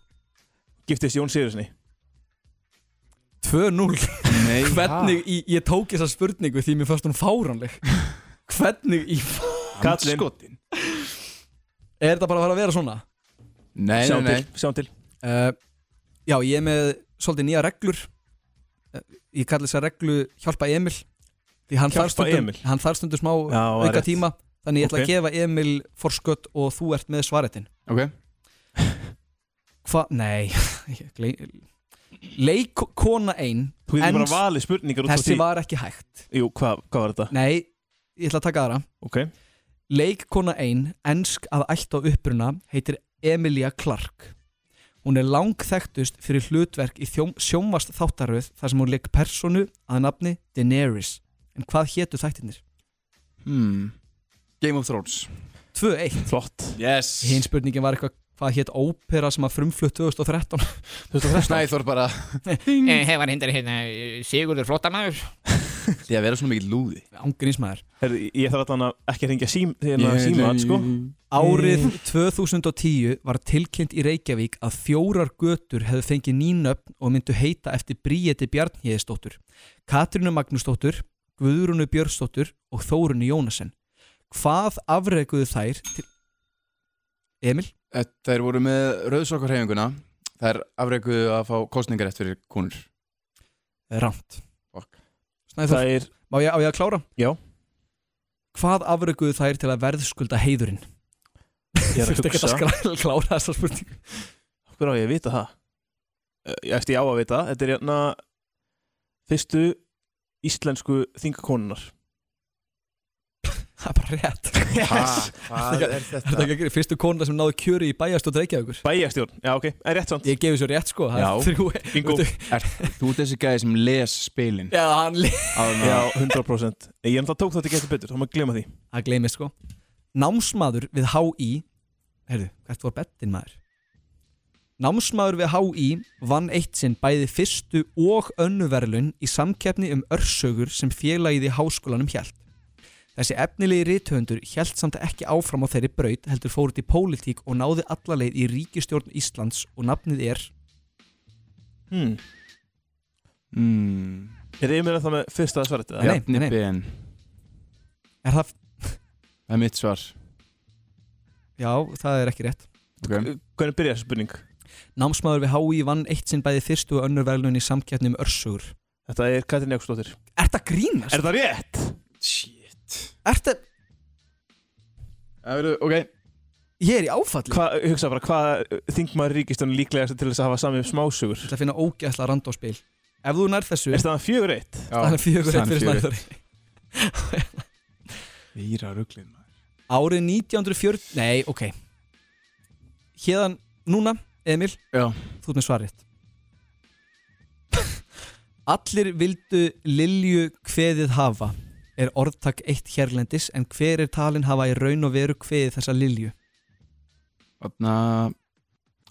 Giftist Jón Sigurðssoni 2-0 Nei Hvernig, í, ég tók þessa spurningu því mér fannst hún fáránleg Hvernig í Kallinn. Skotin Er þetta bara að fara að vera svona? Nei, nei, Sjáum nei til, sjáum til Uh, já, ég er með svolítið nýja reglur Eh, Ég kalli þess að reglu hjálpa Emil Því hann Hjálpa þarf stundum, Emil. hann þarf stundum smá Já, það er auka rétt. tíma Þannig ég ætla Ok. að gefa Emil forskött og þú ert með svaretin Ok Hva? Nei ég gley- Leikkona ein Þú getur bara en valið spurningar út frá þessi því var ekki hægt Jú, hvað hvað var þetta? Nei, ég ætla að taka aðra Ok Leikkona ein, ensk að ætt á uppruna, heitir Emilia Clark. Hún er langþekktust fyrir hlutverk í þjóm, sjómast þáttaröð þar sem hún leik personu að nafni Daenerys. En hvað hétu þættirnir? hmm. Game of Thrones 2-1. Flott Yes Hinn spurningin var eitthvað hvað hétt ópera sem að frumflutt 2013. Snæþór bara Eh, Það var hindar hérna Sigurður flottamæður Því að vera svona mikið lúði Ángriðismæður. Her, Ég þarf allan að ekki hringja sím, hérna, síma sko. Árið Eh. 2010 var tilkynnt í Reykjavík að fjórar götur hefðu fengið nýnöfn og myndu heita eftir Bríeti Bjarnhéðisdóttur, Katrínu Magnúsdóttur, Guðrunu Björnsdóttur og Þórunu Jónasen. Hvað afreguðu þær til... Emil? Þær Eh, voru með rauðsokkarhefinguna Þær afreikuðu að fá kostningar eftir konur Rámt. Fuck. Snæður, Það er má ég, á ég að klára? Já. Hvað afreguðu þær til að verðskulda heiðurinn? Ég er að Þurfti ekki að hugsa. skræla- klára þessa spurningu. Hver á ég að vita það? Eh, Ég eftir ég á að vita það. Þetta er hérna fyrstu íslensku þingakonunar Það er bara rétt. Yes Hvað er Þetta er ekki fyrstu konuna sem náðu kjöri í bæjast og dreikjaðugur. Bæjastjórn, já ok, er rétt samt Ég gefi svo rétt sko, það Já. er þrjú Bingo. Veitu- Er, Þú ert þessi gæði sem les spilin Já, hann li- Já, 100% Ég er náttúrulega tók þetta getur betur, þá maður glema því Það gleymist sko Námsmaður við HÍ Herðu, hvert var bettin maður? Námsmaður við HÍ vann eitt sinn bæði fyrstu og önnu verðlun í samkeppni um örsögur sem félagið í háskólanum hjælt. Þessi efnilegi rithöfundur hjælt samt ekki áfram á þeirri braut heldur fóruð í pólitík og náði allaleið í ríkistjórn Íslands og nafnið er hmm. mm. Er ég meira það með fyrsta svaret eða? Já. nei, Bjarni nei. Ben Er það? Það er mitt svar Já, það er ekki rétt. okay. Hvernig byrja þessi spurning? Námsmaður við HÍ vann eitt sinn bæði fyrstu og önnur verðlun í samkeppni um örsugur. Þetta er Katrin Jáksdóttir Er þetta grínast? Er það rétt? Shit Er þetta... Það verður, ok Ég er í áfalli. Hva, hugsa bara, hvað þingmaður ríkistjórn líklegast til þess að hafa samið smásugur? Ég ætla að finna ógæsla randóspil. Ef þú nær þessu, Er það fjögur eitt? þannig fjögur eitt fyrir snæður. Íra rugglið maður Árið 1940... Nei, ok. Hérðan núna, Emil, Já þú ert með svarið. Allir vildu Lilju kveðið hafa er orðtak eitt hérlendis en hver er talin hafa í raun og veru kveðið þessa Lilju? Þarna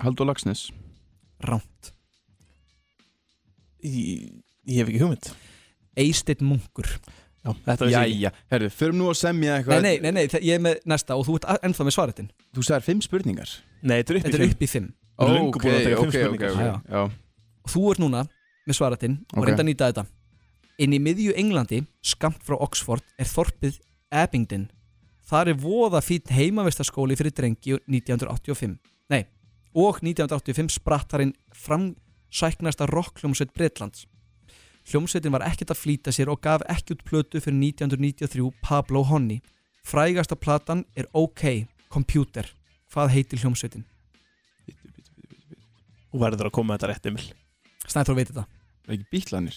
Haldur Lagsnes Rámt. Ég, ég hef ekki hugmynd Eisteinn munkur. Já, þetta vissi ég ekki. Jæja Herru, förum nú að semja Nei, eitthvað nei, nei, nei, þa- ég er með næsta og þú ert a- ennþá með svaretin. Þú sagðir fimm spurningar Nei, þetta er upp í Þetta er fimm upp í fimm. Við erum Ó, löngu búin að taka fimm spurningar. ok, ok, ok Já og þú ert núna með svaratinn og Ok. reynda að nýta þetta inn í miðju Englandi, skamt frá Oxford er þorpið Abingdon þar er voða fín heimavistaskóli fyrir drengi 1985 nei, og 1985 spratt þar inn framsæknasta rockljómsveit Bretlands hljómsveitin var ekkert að flýta sér og gaf ekki út plötu fyrir 1993 Pablo Honey frægasta platan er OK Computer, hvað heitir hljómsveitin? Þú verður að koma með þetta rétt, Emil Snæþór veitir það Það er ekki bítlanir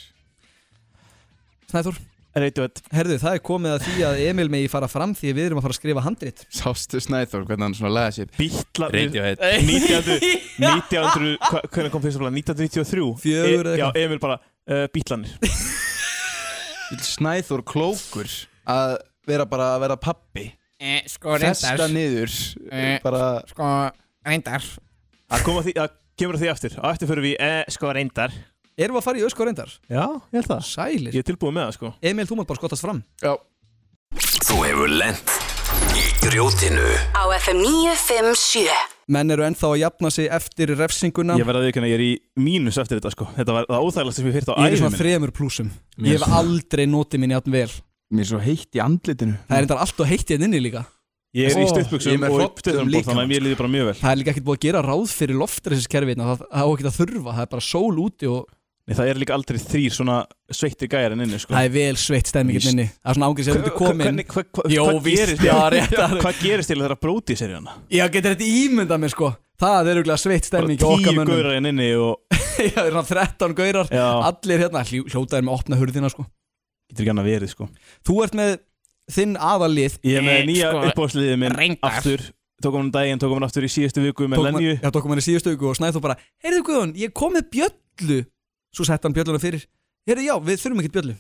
Snæþór Radiohead Herðu, það er komið að því að Emil megi fara fram því að við erum að fara að skrifa handrit Sástu Snæþór, hvernig hann svona laði sér Bítla Radiohead 1900 1900 hva- Hvernig kom fyrsta plan? 1993 Fjögur eða e, Já, eitthvað. Emil bara uh, Bítlanir Snæþór klókur að vera bara að vera pappi Sko Festa reyndar niður Eh. bara Sko reyndar Að koma að því, að kemur að því aftur Á eftir fyrir við, eh, sko reyndar Erum við að fara í ösku reyndar? Já, ég held það Sælir Ég er tilbúið með það, sko Emil, þú mátt bara skotast fram Já, Þú hefur lent í grjótinu á FM 957 Menn eru ennþá að jafna sig eftir refsinguna Ég verða að viðkynna, ég er í mínus eftir þetta, sko Þetta var það óþægilegst sem ég fyrir á Ég er í æfum svona minni þremur plúsum Mér Ég er hef aldrei notið minni játn vel Mér er svo heitt í andlitinu Það er Mm. endar allt og heitt hérna inni líka Ég er Ó, ég í er stuttbuxum með og hroddum stuttbuxum líka. Þannig að mér líður bara mjög vel Það er líka ekkert búið að gera ráð fyrir loftræsiskerfið Það það á ekki að þurfa, það er bara sól úti og Nei, það er líka aldrei þrýr svona sveittir gæjar en inni, sko það er vel sveitt stemmingin inni Það er svona ángriðs að þú ertu komin Hvernig- hvað- hvað- Jó, hvað víst, gerist- já, rétt að- Hvað gerist til þeirra bróti seríana? Já, getur þetta ímyndað mér sko Það er auðvitað sveitt Bara stemming hjá tíu okkar mönnum. gaurar en inni og Já, það er svona 13 gaurar Já. Allir hérna, hljó- hljótaðir með að opna hurðina sko Getur ekki annað verið, sko Þú ert með þinn aðallið Ég er með Eh, nýja sko, uppáðsliðið minn reyndar. aftur Tókum hann um daginn, tókum hann aftur í síðustu viku með tókum hann- Lenju Já, tókum hann í síðustu auku og snæði þú bara Heyrðu Guðun, ég kom með bjöllu Svo sett hann bjölluna fyrir Heyrðu, já, við þurfum ekkert bjöllu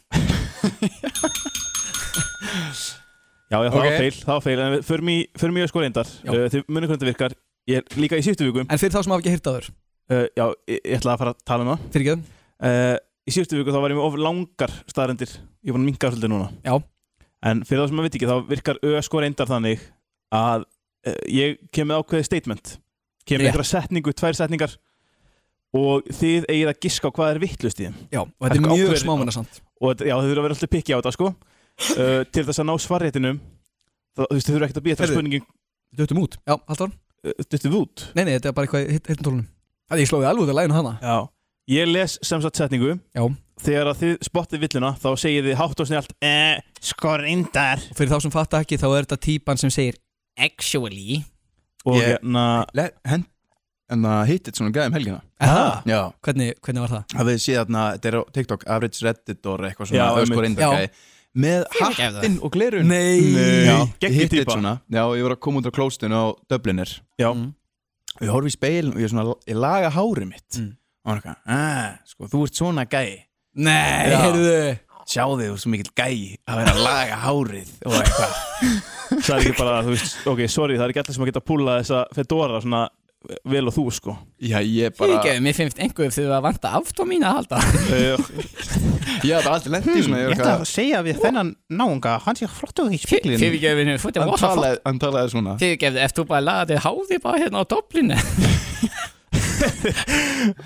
Já, já, það Ok. var feil, það var feil En við förum í, förum í sko reyndar Já. uh, Þið munið hvernig þetta virkar Ég er líka í síðustu viku uh, En fyrir þá sem hafa ekki hýrt að þur Já, ég, ég ætla að fara að tala um það Fyrir ekki uh, Í síðustu viku þá var ég með of langar staðrendir Ég er búin að minka svolítið núna Já. En fyrir þá sem maður veit ekki, þá virkar ö sko reyndar þannig Að uh, ég kem með ákveðið statement Kem með Rétt. einhverja setningu, tvær setningar Og þið eigið að giska á hvað er vittlust í þeim Já, og þetta er Eitthvað mjög ákveður- smámannasamt og þetta- já, þau þurfa að vera alltaf pikki á þetta sko uh, til þess að ná svarréttinum þá, þú veist, þau þurfa ekkert að býja þetta Heyrðu. spurningin Döttum út Já, haldur uh, duttum við út Nei, nei, þetta er bara eitthvað í hittum tólunum Það ég slóði alveg út af læginu hana já. ég les sem sagt setningu Já. þegar að þið spottið villuna þá segið þið hátt og snjált eh, skorindar Og Fyrir þá sem fatta ekki, þá er þetta típan sem segir Actually og Ég- hérna le- hend En það hittit svona gæðum helgina Aha. Já, Hvernig, hvernig var það? hafið þið séð þarna, þetta er á TikTok Average Redditor eitthvað Já, svona einmitt. öskur Já. gæði Með ekki ef það. hattinn og glerun Nei. Já, Geggjuð hittit týpa. svona Já, ég var að koma út á klóstun á Dublinir já, og ég horfi í speilin og ég, er svona, ég laga hárið mitt og hann er eitthvað, "Ah, sko, þú ert svona gæi Nei, heyrðu sjáðu þú ert svo mikill gæi að vera að laga hárið og eitthvað það er ekki bara, þú veist, ok, sorry það er ekki allir sem að geta að púla þessa fedora svona eh, vel og þú sko Já, ég bara, Fyrirgefðu, mér finnst einhverjum þau að vanta aftóð mín að halda uh, ég hef bara alltaf lent í svona Mm. ég var eitthvað, segja við þennan náunga hann sé flottu í Fyrirgefðu, mér finnst hann það rosa flott talaði, hann talaði svona Fyrirgefðu, ef þú bara laði háði bara hérna á doblinu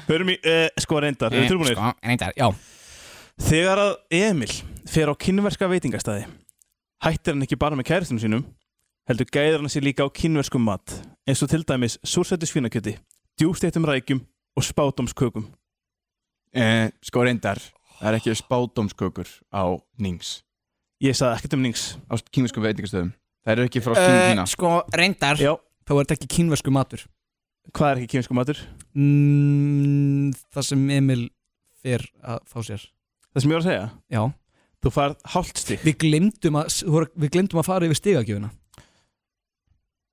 Förum í, uh, sko reyndar, eru tilbúinir? Sko, reyndar, já Þegar að Emil fer á kynverska veitingastæði hættir hann ekki bara með kæristinu sínum heldur gæðir hann sér líka á kynverskum mat eins og til dæmis súrsættu svínakjöti djústeittum rækjum og spátumskökum eh, Sko reyndar, það er ekki spátumskökur á Nings Ég sagði ekkert um nings á kýmiskum veitingastöðum Það eru ekki frá Kína Eh, Kína Sko, reyndar Já, Þá er þetta ekki kínversku matur hvað er ekki kynverskum matur? mm, Það sem Emil fer að fá sér Það sem ég var að segja, Já þú farð hálft stík Við glemdum að, þú voru- við glemdum að fara yfir stigagjöfuna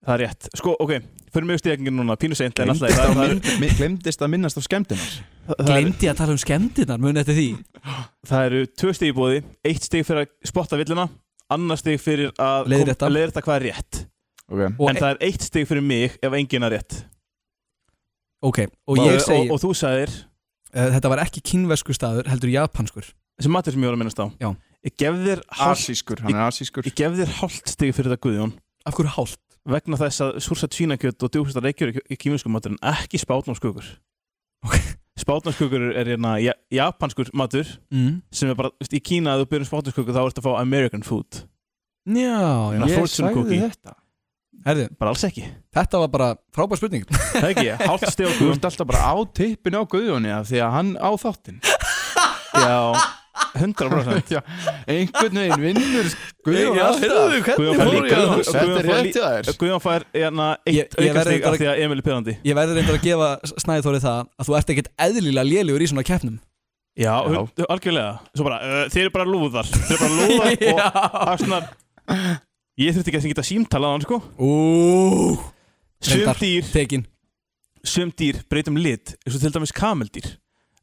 Það er rétt, sko, ok, förum við stíkingin núna pínu seint sko, en alltaf Glemdist það, að það, mynd- mi- Glemdist að minnast á skemmtunar það, það, er- Glemdi að tala um skemmtinnar, muni eftir því það eru tvö stík í bóði eitt stík fyrir að spotta villuna annar stík fyrir að Leiðrétta. kom- leiðrétta hvað er rétt okay. Og, e- en það er eitt stík fyrir mig ef enginn er rétt ok, og ég segi og, og þú sagðir eh, Þetta var ekki kínversku staður, heldur japanskur þessi matur sem ég var að minnast á Já. ég gef þér hálft Asískur, hann er asískur ég gef þér hálft stig fyrir þetta Guðjón Af hverju hálft? vegna þess að súrsætt svínakjöt og djúfistar reykjur í kýminskum matur en ekki spátnámskökur Ok. spátnámskökur er hérna ja, japanskur matur Mm. sem er bara veist, í Kína að þú byrjum spátnámskökur þá ertu að fá American food Já, já Ég fortune cookie. þetta Herðu, bara alls ekki þetta var bara frábær spurning það er ekki hálft stig á Þú Guðjón ert alltaf bara á tippinu á Guðjóni af því að hann á þáttinn já 100% Já, Einhvern veginn vinnur Guðjón Já, heyrðu, alltaf Guðjón fær líka Guðjón fær Guðjón- Þetta er rétt lí- hjá þér Guðjón fær hérna Ég- eitt ég verð aukastig reyndar af að- því að Emil er pyrrandi Ég verður reyndar að gefa Snæðþóri það að þú ert ekkert eðlilega lélugur í svona keppnum Já, hún- algjörlega Svo bara, uh, þeir eru bara lúðar Þeir eru bara lúðar og aðsnar Ég þurfti ekki að geta símtala á hann sko Úúúú Sum dýr, Tekin sum dýr breytum lit eins og til dæmis kameldýr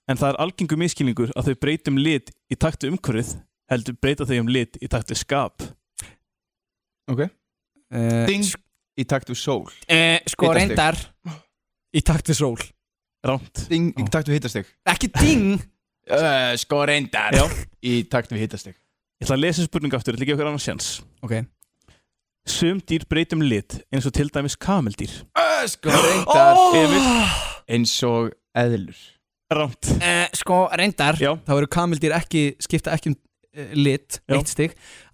En það er algengu miskilningur að þau breytum lit í taktu umhverfið heldur breyta þau um lit í taktu skap Ok uh, Ding. í takt við sól Eh, sko Hitastig. reyndar Í takt við sól Ránt Ding, Í takt við hittastig Ekki ding uh, Sko reyndar Já. Í takt við hittastig Ég ætla að lesa spurningu aftur, ég ætla að gefa okkur annan sjans Ok Sum dýr breytum lit eins og til dæmis kameldýr uh, Sko reyndar oh! Eins og eðlur Rámt eh, Sko reyndar Já, Þá eru kamildýr ekki Skipta ekki um uh, lit Já. Eitt stig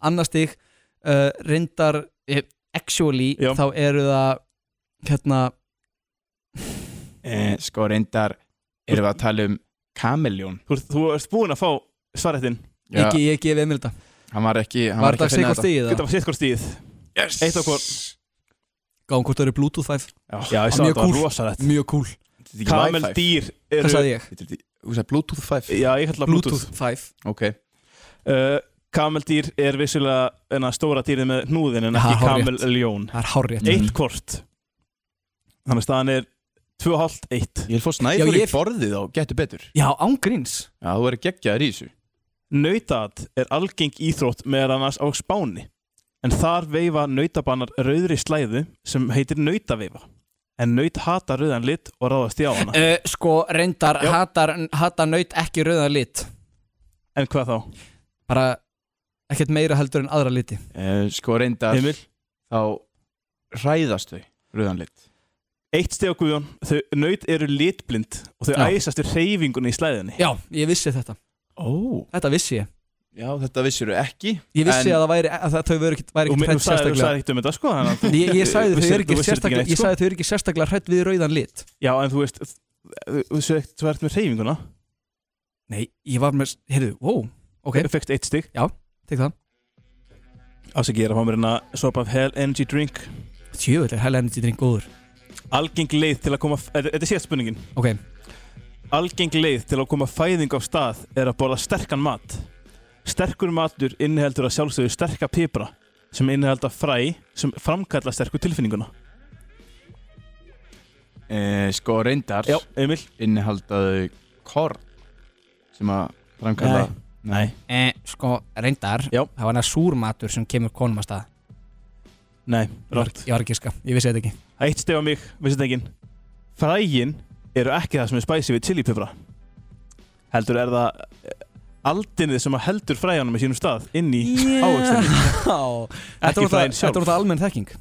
Annar stig uh, Reyndar eh, Actually Já. Þá eru það Hérna uh, Sko reyndar Erum við að tala um kameljón þú, ert- þú ert búin að fá svarættin Já, ekki, Ég gef Emil þetta hann var ekki hann Var var, ekki þetta að finna sikkert þetta stigið Þetta það? var sitt hvort stíð yes. Eitt af hvor- Gáum hvort það eru bluetooth 5 Já, ég Mjög sá þetta var cool. rosarætt Mjög cool Kameldí Kameldýr Hvað eru sagði ég? Þú sagði Bluetooth 5 Já, ég kalla það Bluetooth, Bluetooth 5 Ok Uh, Kameldýr er vissulega enna, stóra dýrið með hnúðin en Ha, hárrétt. ekki Mhm. kameljón Það er hárrétt Eitt hvort Þannig að staðan er 2,5-1 Ég vil fá snæður Já, í ég- borðið og getur betur Já, ángríns Já, þú verður geggjaður í þessu Nautad er algeng íþrótt meðan annars á spáni en þar veifa nautabannar rauðri slæðu sem heitir nautaveifa en naut hata rauðan lit og ráðast í á hana eh, Sko reyndar Já. hatar, hatar naut ekki rauðan lit En hvað þá? Bara Ekkert meira heldur en aðra liti uh, Sko reyndar Emil? Þá hræðast þau Rauðan lit Eitt steg á guðjón, þau naut eru litblind og þau Já. æsast við reyfingunni í slæðinni Já, ég vissi þetta Ó Þetta vissi ég Já, þetta vissir þau ekki Ég vissi En- að, það væri, að það, þau væri ekkert, væri Þú ekkert hrætt sagði sérstaklega ekkert um þetta sko þannig að- Ég, ég sagði þau Vissir- eru þú ekki vissir þetta sérstaklega ekki neitt, Ég sko. sagði þau eru ekki sérstaklega hrætt við rauðan lit Já, en þú veist þú- Þú veist, þú ert með reyfinguna Nei, ég var með, heyrðu, wow, ok, Þú fekst eitt stygg tek það Ásaki, ég er að fá mér hérna sopa af Hell Energy Drink Tjöfull er hell energy drink góður Algeng leið til að koma Þetta þetta er síðast spurningin Ok, Algeng leið til að koma fæðing af stað er að borða sterkan mat Sterkur matur inniheldur að sjálfsögðu sterka pipra sem innihelda fræ sem framkalla sterku tilfinninguna uh, Sko reyndar Já, Emil Innihaldaðu korn Sem að framkalla Nei. Nei e, eh, Sko reyndar Já. Það var hann súrmatur sem kemur konum að stað Nei, rátt ég var ekki ská, ég vissi þetta ekki Eitt stef á mig, vissi þetta enginn Frægin eru ekki það sem er spæsi við chilipipra Heldur er það eh, aldinið sem að heldur fræjanum í sínum stað inn í yeah. Þetta Ekki var það- fræin þetta sjálf var það almenn þekking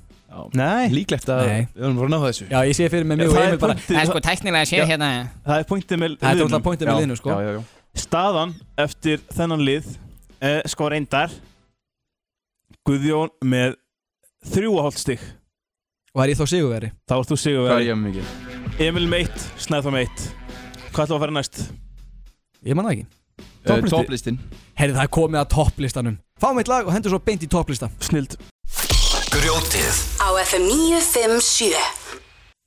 Nei, Líklegt að Nei. Við höfum voru að ná þessu Já, ég sé fyrir með mjög og það er sko- Emil bara pointið- En sko tæknilega sé Já. hérna Það er pointið með Þetta var liðnum. alltaf pointið með liðinu, sko Já, já, já Staðan eftir þennan lið eh, sko reyndar Guðjón með þrjú og hálft stig Og er ég þá sigurveri? Þá ert þú Hvað er sigurveri ég með mikið? Emil meitt, Snæþór meitt Hvað ætlum við að fara næst? Ég man það ekki Eh, Topplisti. Topplistin Heyrðu, það er komið að topplistanum Fáum eitt lag og hendur svo beint í topplista Snild Grjótið Á FM 957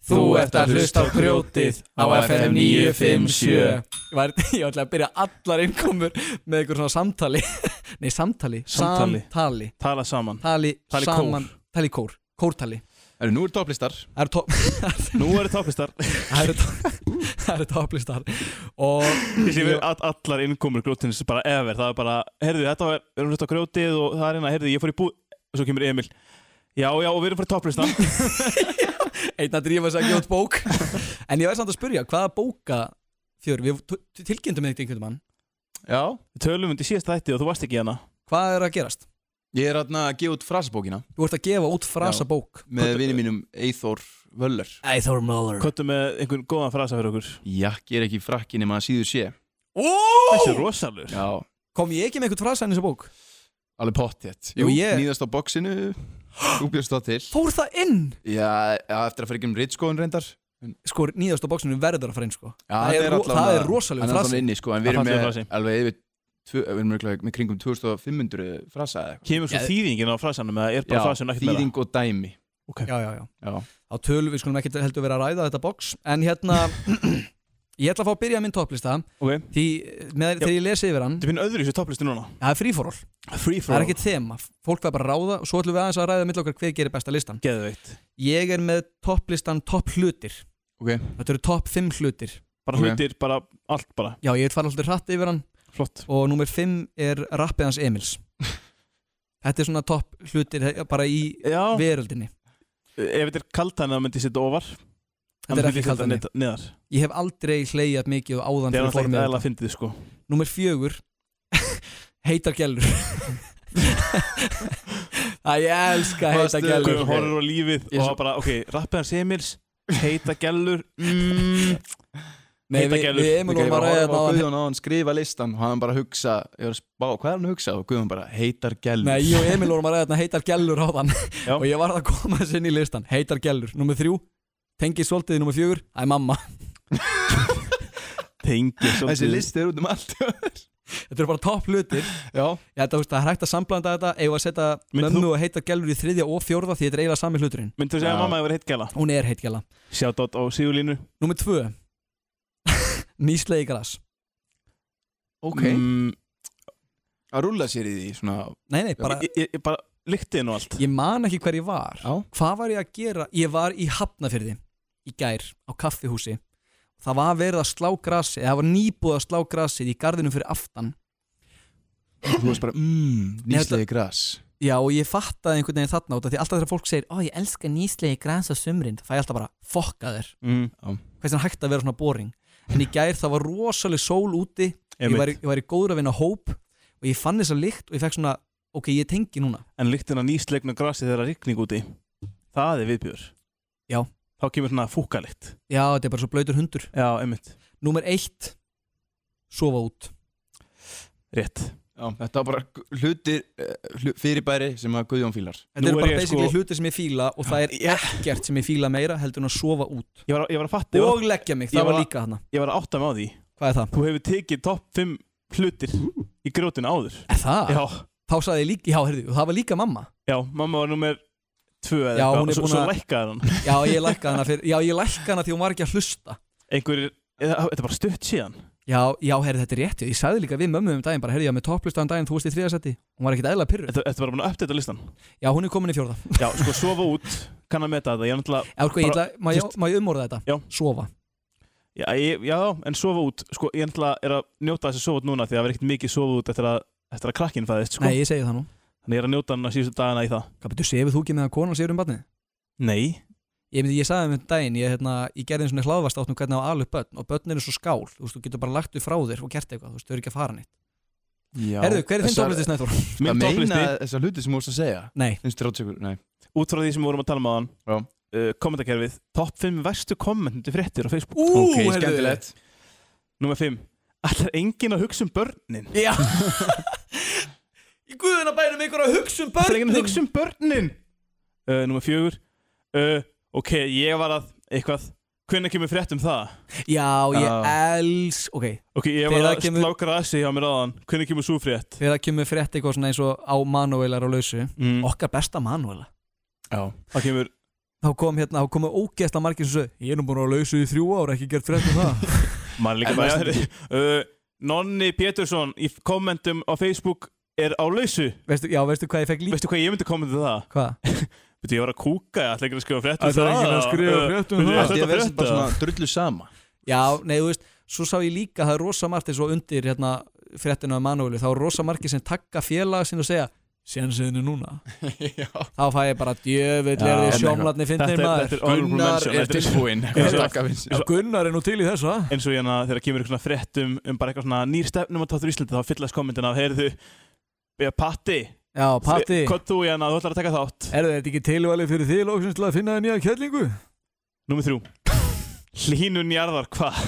Þú ert að hlusta á grjótið á FM 957. Ég var, ég ætla að byrja allar innkomur með einhver svona samtali Nei, samtali Samtali. Samtali Tala saman Tali, Tali kór. saman Tali kór Kórtali Eru, nú er topplistar Það eru topp- Nú eru topplistar það eru topp- það eru topplistar Og Ég sé við all, allar innkomur grjótins bara ever Það er bara, heyrðu, þetta var, við erum hlusta á grjótið og það er hérna, heyrðu, ég fór í bú og svo kemur Emil Já, já, og við erum fyrir topplistan einn að drífa sig að gjótt bók En ég væri samt að spyrja Hvaða bóka fjör Við t- t- tilkynntum þetta einhvern mann Já Við tölum undir síðasta þætti og þú varst ekki hérna Hvað er að gerast? Ég er aðna að gefa út frasabókina Þú ert að gefa út frasa bók Með vini mínum Eithor Völler Eithor Möller Köttu með einhvern góðan frasa fyrir okkur Jakki er ekki frakki nema að síður sé Þessi er rosalur Já Kom ég ekki með einhvern frasa en þessu bók? Alveg pottjett Jú, ég- Nýðast á boxinu Þú bjóst það til Fór það inn? Já, já, eftir að fyrir ekki um ritskóðun reyndar Sko, nýðast á bóksinu verður að fara inn sko Já, Það er ro- það er rosaleg Það er frasi. allan inni, sko En við Það erum er fallegur með frasi. alveg yfir tvö- Við erum örugglega með kringum 2500 frasa eða eitthvað Kemur svo Já. þýðingin á frasanum eða er bara frasan ekkert meira þýðing og dæmi Já, já, já Já, Á töl, við skulum ekki heldur vera að ræða þetta bóks En hérna Ég ætla að fá að byrja minn topplista Ok, Því eh, með, þegar ég lesi yfir hann þetta finn öðru í þessu topplistu núna Það er fríforall, Free það er for all ekkert þema Fólk verður bara að ráða og svo ætlum við aðeins að ræða mittl okkar hver gerir besta listan Geðveikt Ég er með topplistan topp hlutir ok Þetta eru topp 5 hlutir Bara Ok. hlutir, bara allt bara Já, ég vil fara alltaf hratt yfir hann Flott Og númer 5 er rappið hans Emils Þetta er svona topp hlutir eh, bara í Já, veröldinni ef þetta er kaltæni þá myndi ég setja ofar Þetta er ekki kaldan Neðar Ég hef aldrei hleyjað mikið og áðan Það er fyrir náttúrulega formið eða að fyndið sko Númer fjögur Heitar gælur Það ég elska heitar Varstu- Guðjón gælur ok. horfir á lífið Ég og svo- það bara, ok, rappið hans Emils heita gellur mm, Nei, heitar við, gælur. við Ég Emil var vorum að bara ræða að þetta áðan. Guðjón á hann skrifa listan og hann bara hugsa, ég var að spá, hvað er hann að hugsa? Og Guðjón bara, heitar gælur. Nei, ég og Emil vorum að ræða þetta heitar gælur áðan Já. Og ég varð að koma þessi inn í listan Heitar gælur, númer þrjú Tengi svolítið, númer fjögur Æ, mamma tengir Þessi svolítið listi er út um allt. Þetta eru bara topp hlutir Já. Ég held að þú veist, það er hægt að samblanda þetta Ef að setja Mynd mömmu og heitar gælur í þriðja og fjórða Því þetta er eiginlega sami hluturinn myndu að segja Já. að mamma hefur heitt gæla Hún er heitt gæla shoutout á Sigurlínu Númer tvö Nýslegi gras Ok. mm, Að rúlla sér í því, svona, Nei, nei, bara bara, ég, ég, bara lyktið nú allt Ég man ekki hver ég var Já. Hvað var ég að gera? Ég var í Hafnafyrði Í gær á kaffihúsi Það var verið að slá grasi Það var nýbúið að slá grasið í gardinu fyrir aftan þú veist Mm, bara, mmm, nýslegi gras. Já og ég fattaði einhvern veginn þarna út af Því alltaf þegar fólk segir Ó ég elska nýslegi græns á sumrin Það fæ ég alltaf bara fokka þér mm, Hvernig er hægt að vera svona boring En í gær það var rosaleg sól úti Ég var, í- ég var í góður að vinna hóp Og ég fann þessa lykt og ég fekk svona Ok ég tengi núna en lyktin að nýslegna grasi þegar rigning úti það er viðbjör Já. þá kemur svona fúkalikt Já þetta er bara svo blautur hundur já, einmitt Númer eitt Sofa út rétt Já, þetta var bara hlutir, eh, hlu- fyrirbæri sem að Guðjón fílar. Þetta Nú eru er bara ég basically sko- hluti sem ég fíla og það er ekkert sem ég fíla meira heldur en að sofa út ég var, ég var að fatta ég var, og leggja mig, það ég var var- líka hana ég var að átta mig á því Hvað er það? þú hefur tekið topp 5 hlutir í grjótinu áður Er það? já, Þá sagði ég líka, já, heyrðu, það var líka mamma já, mamma var nummer 2 eða Já, hún er eitthvað og svo, búin svo að- lækkaði hann Já, ég lækka hana fyrir, já, ég lækka hana því hún var ekki að hlusta einhverjir eða- þetta er bara stutt síðan Já, já, heyrðu, þetta er rétt, já, ég sagði líka við mömmu um daginn bara, heyrðu, já, með topplistaðan daginn, þú veist í þriðasetti hún var ekkit eðla pyrru, Þetta þetta er bara búin að uppdata listan já, hún er komin í fjórða Já, sko, sofa út, kann að meta þetta Ég er náttúrulega, Já, sko, ég ætla, Bara- má ég- má ég umorða þetta? Já. Sofa, já, ég, já, en sofa út Sko, ég er náttúrulega er að njóta þess að sofa út núna Því að það verður ekkert mikið sofa út eftir að, eftir að krakkinn fæðist sko. nei, ég segi það nú Þannig ég er að njóta hann að síðustu dagana í það Hvað betur, sefur þú ekki meðan konan sefur um barnið? Nei, Ég, myndi, ég sagði um þetta daginn, ég, hérna, ég gerði einu svona hlaðvast áttum hvernig á alveg börn og börn eru svo skál, þú veist, þú getur bara lagt þau frá þér og gert eitthvað, þú veist, þau eru ekki að fara neitt Já. Herðu, hver er þinn Þessar- tóplisti Snæþór? Að minn meina topplisti þessar hluti sem þú vorst að segja. Nei, Finnst þér átökur? Nei. Út frá því sem við vorum að tala um Já. aðan uh, Kommentakerfið Top 5 verstu kommentundu fréttir á Facebook Ú, Ok, heyrðu. skemmtilegt. Númer 5 Ætlar enginn að hugsa um börnin já Í guðuna bænum ykkur að hugsa um Ætlar enginn börnin að hugsa um börnin uh, Númer 4 uh, Ok, ég var að, eitthvað Hvenær kemur frétt um það? Já, ég Já. els, ok, Ok, ég var Þegar að það kemur- kemur... sláka rasi hjá mér aðan Hvernig kemur svo frétt? þegar það kemur frétt eitthvað svona eins og á manuvelar á lausu Mm. Okkar besta manuela Já. Það kemur Þá kom hérna, þá komu ógeðsla margir sem sögðu Ég er nú búin að lausu í þrjú ára, ekki gert frétt um það Maður líka En bara veistu uh, Nonni Pétursson í kommentum á Facebook er á lausu veistu, Já, veistu hvað ég fekk líka? Veistu hvað ég myndi kommenta um það? Hvað? Veitu, ég var að kúka, ég ætla ekki að skrifa frétt um Ætlar það enginn að skrifa Uh, frétt um veitu, það? ætlar Ég þetta verðist frétt bara eða? svona drullu sama. Já, nei, þú veist, svo sá ég líka það er rosa margt eins og undir hérna fréttinu af manueli, þá er rosa margir sem takka félaga sín og segja, sénsiðinu núna þá fæ ég bara djöfull er Já, þið en sjómlatni Þetta finnir er- maður þetta er honorable mention, þetta er- Hvað takka finnst? Já, Gunnar er nú til í þessu það Eins og hérna þegar kemur eitthvað svona frétt um, um bara eitthvað svona nýr stefnum að tátur Íslandi þá fyllast kommentin af, heyrðu eh, Patti, Já, Patti, hvað þú hérna, þú ætlar að taka þátt er þetta ekki tilvalið fyrir þið lóksins til að finna þið nýja kjöllingu? Númer þrjú Hlínun jarðar, hvað?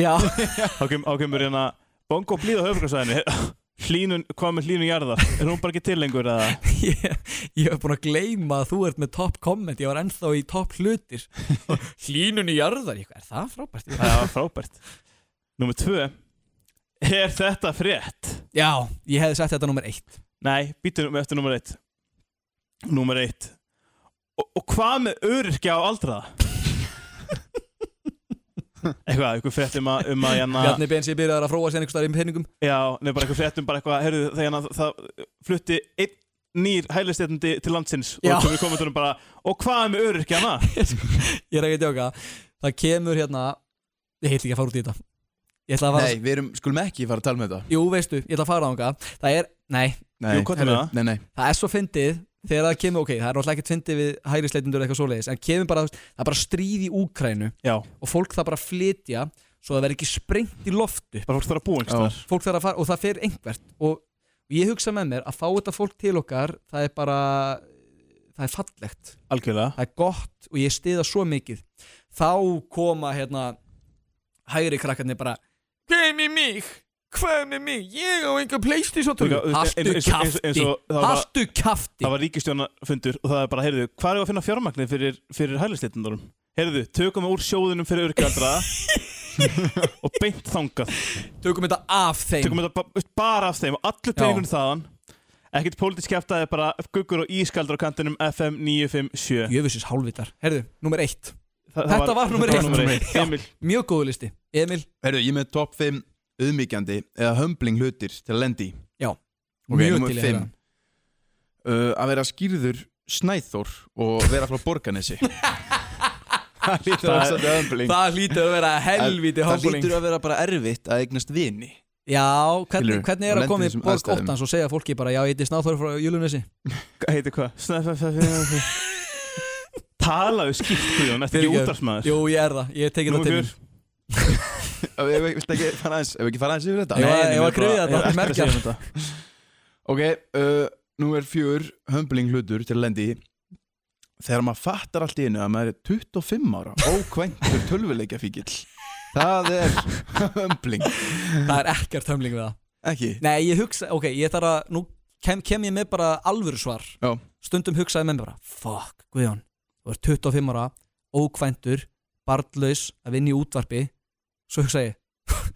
Já, Þá kem- þá kemur hérna Bongo blíð á höfbrukarsvæðinu Hlínun, hvað með hlínun jarðar? Er hún bara ekki til lengur eða? ég, ég hef búin að gleyma að þú ert með topp komment, ég var ennþá í topp hlutir Hlínun í jarðar, ég, er það frábært? Það var frábært Númer tvö Er þetta frétt? Já, ég hefði sett þetta nummer eitt Nei, býtum við eftir númer eitt Númer eitt Og, og hvað með öryrkja á aldraða? Eitthvað, eitthvað frétt um að, um að hérna, Bjarni Bensi byrjaði að fróa sér einhvers staðar í peningum Já, nefnir bara eitthvað frétt um bara eitthvað Herðu, það, hérna, það flutti einn nýr hælistétandi til landsins Já. og komið komentunum bara Og hvað með öryrkjana? ég er ekki að djóka það kemur hérna ég heiti ekki að fara út í þetta ég ætla að fara Nei, við erum, skulum ekki fara að tala með þetta jú veistu, ég ætla að fara ánga það er, nei, Nei, Jú, hvað er herru, það? Nei, nei, það er svo fyndið þegar það kemur, ok, það er náttúrulega ekkert fyndið við hærisleitundur eitthvað svoleiðis, en kemur bara, þú veist, það er bara stríð í Úkrænu Já, og fólk það bara að flytja svo það verður ekki sprengt í loftu bara fórst þar að búa einhvers þar fólk þarf að fara og það fer einhvert og ég hugsa með mér að fá þetta fólk til okkar það er bara það er fallegt, Algjörlega það er gott og ég stiða svo mikið þá koma hérna hægri krakkarnir bara hvað er með mig, hvað er með mig ég á enga playstation Líka, þú veist, hastu eins- eins- eins- eins kafti, og það var- hastu kafti Það var ríkistjónafundur og það er bara, heyrðu, hvað er að finna fjármagnir fyrir, fyrir hælisleitundurum? Heyrðu, tökum við úr sjóðunum fyrir örgjaldra og beint þangað tökum þetta af þeim Tökum þetta ba- veist, bara af þeim og allir peningunum þaðan Ekkert pólitísk kæftæði bara guggur og ískaldur á kantinum FM 957 jöfusins hálfvitar, herðu, nummer eitt Þa, það Þetta var númer þetta eitt. númer eitt. Já. Emil, mjög góðu listi, Emil Herru, ég er með top 5 auðmíkjandi eða humbling hlutir til að lendi Já, mjög til í Mjög að til uh, heyra. Að vera skýrður snæþór og vera frá borganessi Það lítur að vera svolítið humbling það hlýtur að vera helviti Það humbling. lítur að vera bara erfitt að eignast vini Já, hvernig, Skilurðu? hvernig er Og að lendir koma í í þessum borg aðstæðum. óttans og segja fólki bara já, ég heiti Snáþóri frá Júlunessi heitir hvað? Snæf, f, f, f, f. Talaðu skýrt, Guðjón, eftir ekki útarsmaður Jú, ég er það, ég tekið það Númer til fjör mín Ef við vilt ekki fara aðeins- ef við ekki fara aðeins yfir þetta Ég var- Nei, nei, ég var bara- að greiða ég þetta, ætlaði að merkja segja um þetta. Ok, uh, nú er fjör humbling hlutur til að lendi í. Þegar maður fattar allt í einu að maður er 25 ára ókvæntur tölvuleikja fíkil Það er humbling Það er ekkert hömling við það Ekki? Nei, ég hugsa, ok, ég þarf að Nú kem, kem ég með bara alvöru svar Já. Stundum hugsaði með mér bara Fuck, Guðjón, þú ert 25 ára Ókvæntur, barnlaus Að vinna í útvarpi Svo hugsaði ég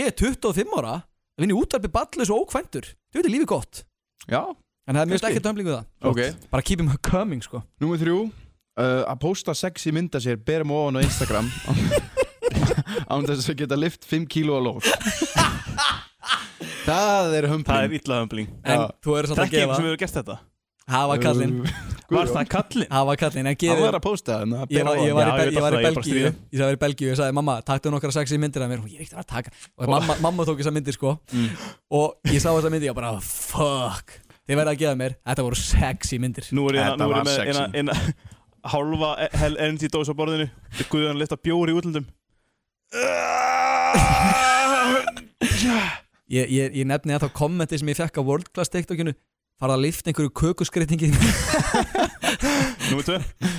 Ég er 25 ára að vinna í útvarpi, barnlaus og ókvæntur Þú veit er lífið gott Já, En það er mjög Kannski. ekkert hömling við það ok Bara keep him coming, sko Númer þrjú uh, Að posta sexy mynda sér berum ofan á Instagram án þess að geta lift 5 kíló að lóð Það er Það er humbling illa humbling En Já. þú er samt að Það er ekki gefa sem hefur gert þetta Hafa kallinn Var það kallinn? Hafa kallinn En Það gefið var að posta þannig að Ég bera var, ég, ofan var Já, í, ég Bel- ég var í fatta það, ég bara Belgíu stríði. Ég var í Belgíu Ég sagði mamma Taktu nokkra sexi myndir af mér Hún ég er ekkert að fara að taka Og mamma, mamma tók þessa myndir sko Og ég sá þessa myndir Ég var bara Fuck Þið verða að gefa mér Þetta voru sexy myndir Nú er ég Þetta nú er var ég með eina, sexy. eina hálfa hel energy dose á borðinu Guðan lifta bjóri í útlöndum Ég, ég, ég nefni þetta kommenti sem ég fekk á World Class TikTokinu Farða að lifta einhverju kökuskreitingi Númer 2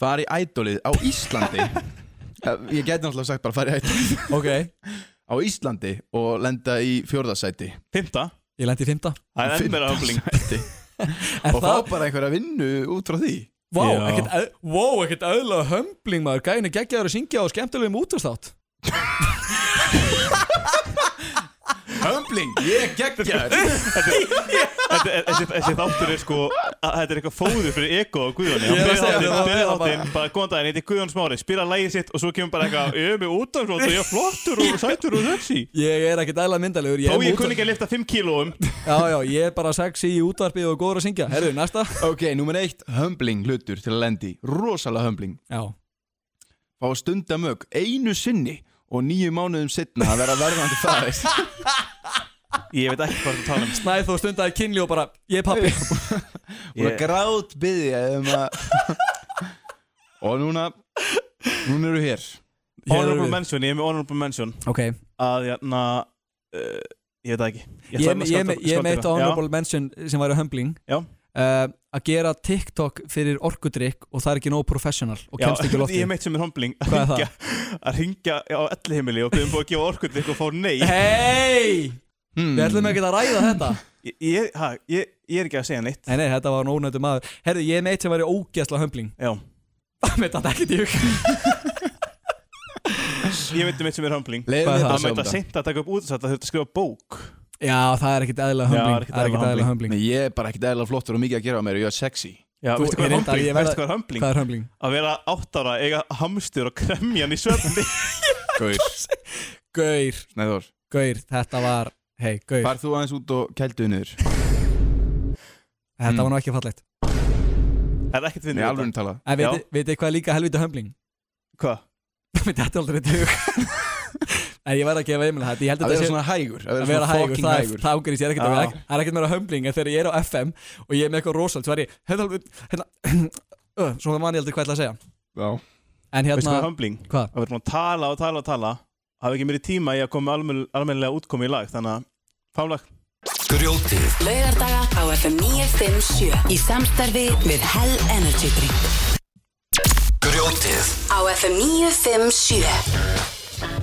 Fari í ædolið á Íslandi Eh, Ég geti náttúrulega sagt bara fari í ædolið Ok Ég á Íslandi og lenda í fjórðasæti Fymta lendi í fymta Það er enn meira humbling Sæti. En og fá bara einhverja vinnu út frá því Vá, Já. ekkert, eð- wow, ekkert öðla hömbling maður Gæðin er geggjaður að syngja á skemmtilegum útastátt Humbling, ég geggja Þetta- Þessi þessi þáttur er sko að- Þetta er eitthvað fóður fyrir ego og Guðan Ég er að segja það, Byrja það er þáttinn, bara góðan daginn, heiti Guðan Smári Spýra lægið sitt og svo kemur bara eitthvað Ég er með útlöndum og ég er flottur og sætur og sexy Ég er ekkert aðla myndalegur Þó er ég útvar- kunni ekki að lifta 5 kílóum Já, já, ég er bara sexy í útvarpi og góður að syngja Herru, næsta Ok, númer eitt, humbling hlutur til að lendi Rosalega humbling Já, Fá að stunda mög einu sinni og nýju mánuðum setna að vera verðandi fæðis Ég veit ekki hvað það tala um snæð þó stundaði kynli og bara Ég er pappi og Eh, yeah. grát byðja um að og núna núna eru hér Honorable mention, ég er með honorable mention Ok, ég, Að jæna uh, Ég veit það ekki ég, ætla að ég, skálda- ég meitt skálda- Já. honorable mention sem væri humbling Já. Eh, Að gera TikTok fyrir orkudrykk og það er ekki nóg professional og Já, kemst ekki Ég loftið er meitt sem er hombling Hvað er að ringja, að ringja á elli heimili og byrjum búið að gefa orkund eitthvað og fá nei Hei, hmm. við ætlum ekki að ræða þetta ég, ég, ha, ég, ég er ekki að segja neitt Nei, nei, þetta var nónættu maður Herru, ég er meitt sem væri ógæsla humbling Já, Með þetta ekki djúk ég veit um eitt sem er hombling Hvað er leiðum þetta Það að með þetta sjá um seint að taka upp út þess að það þurfti að skrifa bók Já, það er ekkit eðla humbling ekkert Það er ekkit eðlilega eðla humbling. þetta humbling Nei, ég er bara ekkert eðla flottur og mikið að gera á mér og ég er sexy Já, Þú- veistu ég hvað er reyndar- hombling? ég verð Veistu hvað er hombling? Hvað er humbling? Að vera átt ára, eiga hamstur og kremja hann í svefni Gaur, Gaur, Snæður gaur, þetta var Hei, gaur, Far þú aðeins út og kældu niður þetta var nú ekki fallegt Það er ekkert Nei, finnir alveg tala En Já. veitir veit hvað er líka helviti hömbling? Hvað? Mér dætti aldrei í hug En ég verð að gefa einminn þetta Ég held að Að vera þetta sé svona hægur að vera hægur, fucking það er það ágrís, ég er ekkert að vera það er ekkert meira hömbling en þegar ég er á FM og ég er með eitthvað rosalt, svo er ég hérna, hérna, ö, svo man ég aldrei hvað ég ætla að segja Já. en Veistu hérna, hvað er humbling? Hvað? Að vera búin að tala og tala og tala hafa ekki meiri tíma í að koma almen, almenlega útkomi í lag þannig að fálag grjótið, Laugardaga á FM 957 Í samstarfi við Hell Energy Drink grjótið, Á FM 957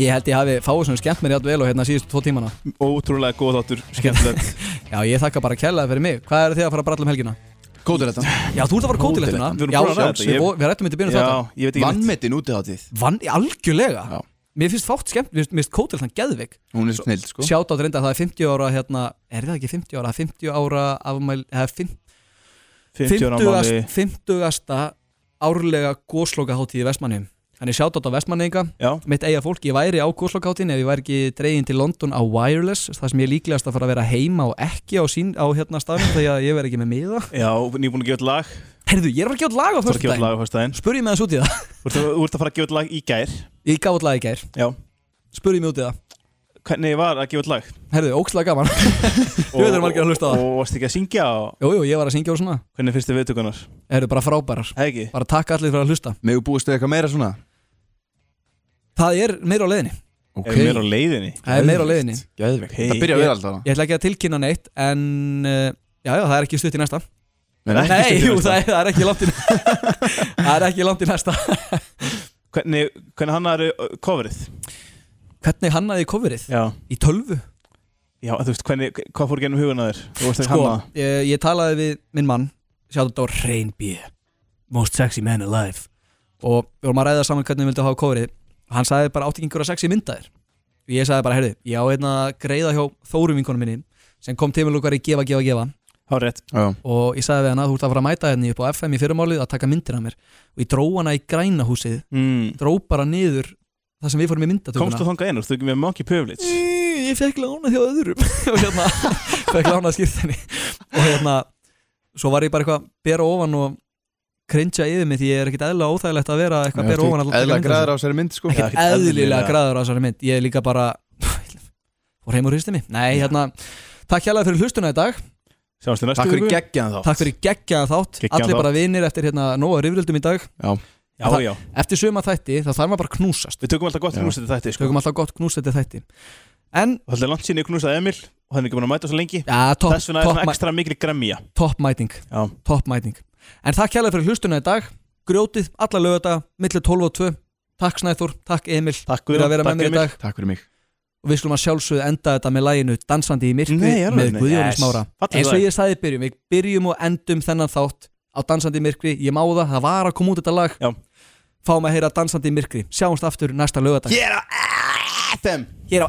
ég held ég hafi fáið svona skemmt mér játvel og hérna síðustu tvo tímana ótrúlega góð þáttur, skemmtilegt já, ég þakka bara kærlega fyrir mig, hvað eru þið að fara að bralla um helgina? Kótur þetta Já, þú ert að fara kótilettuna Við erum Já, búin að ræða þetta, við, ég- ég... við rættum þetta í byrjun Já, þáttan ég veit ekki neitt. Vannmettin úti hátíð Vann, algjörlega Já. Mér finnst fátt skemmt, mér finnst- mér finnst kótilettan geðvik Hún er snill sko Sjátt át reynda að það er 50 ára hérna, er það ekki 50 ára, 50 ára afmæl, eða 50 50 ára 50. ámali 50. árlega góslokaháttíð í Vestmannheim Þannig sjátt átt á Vestmanneinga Já, Mitt eiga fólk, ég væri á góslokaháttíðin ef ég væri ekki dregin til London á Wireless Það sem ég er líklegast að fara að vera heima og ekki á, sín, á hérna staðnum Þegar ég verð ekki með miða já, nýbúin að gefa út lag Þú Herðu, ég er að fara að gefa út lag á ert að gefa út föstudaginn lag á fyrstæðin Spurði mig aðeins út í það Þú ert að þú ert að fara að gefa út lag í gær Ég gaf út lag í gær, Já, spurði mig út í það hvernig var að gefa út lag? Herðu, ókslega gaman Ég veit að margir að hlusta á það. Og varst ekki að syngja og Jú, jú, ég var að syngja og svona hvernig finnst þið viðtökunar? Herðu, bara frábærar Hei ekki? Bara takk allir fyrir að hlusta Megu búist við eitthvað meira svona Það er meira á leiðinni Okay. Er meira á leiðinni? Það er meira á leiðinni Gæðvegt Hey. Það byrja að vera alltaf Ég ætla ekki að tilkynna neitt en uh, já, já, það er ekki stutt í næsta Nei, ekki Nei, stutt í jú, næsta. það er, það er ekki langt í Það er ekki langt í næsta Hvernig, hvernig hann er coverið? Hvernig hannaði ég coverið? Já Í tölvu? Já, en þú veist, hvernig, hvað fór gennum huguna þér? Þú varst ekki Sko, hann að ég, ég talaði við minn mann Sjáttum þetta á Reyn B Most sexy man alive Og við vorum að ræða saman hvernig við vildum hafa coverið Og hann sagði bara átti ekki einhverja sexy myndaðir Og ég sagði bara, heyrðu, ég á einna greiða hjá Þórum vinkonum minni sem kom til mig lúkar í gefa, gefa, gefa Há rétt Já og ég sagði við hana, þú ert að fara að mæta henni upp á FM í fyrirmálið að taka myndir af mér og ég dró hana í græna húsið mm. dró bara niður það sem við fórum í myndatökuna Komstu þangað inn, þú ekki með monkey privilege? Í, ég fekk lána hjá öðrum og hérna, fekk lána skýrtinni og hérna, svo var ég bara eitthvað að bera ofan og cringea yfir mig því ég er ekkit eðla óþægilegt að vera eitthvað að bera ofan að taka Eðla myndir af græðar á sér mynd sko Ekkert sér. eðlilega eðlilega. græður á þessari mynd ég er líka bara og heim úr hristi mig, nei hérna takk hérlega fyrir hlustuna í dag, Sjáumst í næstu Takk fyrir viku. geggjan þá takk fyrir geggjaðan þátt Geggjaðan allir þátt. bara vinir eftir hérna nóga rifrildum í dag Já, já eftir söma þætti þá þarf maður bara að knúsast Við tökum alltaf gott knúsið til þætti, sko tökum alltaf gott knús þetta þætti en, Og Það er langt síðan ég knúsaði Emil og hann er ekki búin að mæta svo lengi ja, topp Þess vegna er top, top, svona ekstra mikil gremmja top mæting Já. top mæting en takk hérlega fyrir hlustuna í dag grjótið, alla lögata, millir 12 og 2 takk Snæþór, takk Emil Takk fyrir að vera með takk mér í Emil. dag Takk fyrir mig og við skulum að sjálfsögðu enda þetta með læginu Dansandi í myrkri Nei, alveg, með nei. Guðjóni Yes. Smára Fallegt eins og lag. ég sagði í byrjum, við byrjum og endum þennan þátt á Dansandi í myrkri ég má það, það var að koma út þetta lag Já. fáum að heyra Dansandi í myrkri sjáumst aftur næsta lögadag Ég er á FM hér á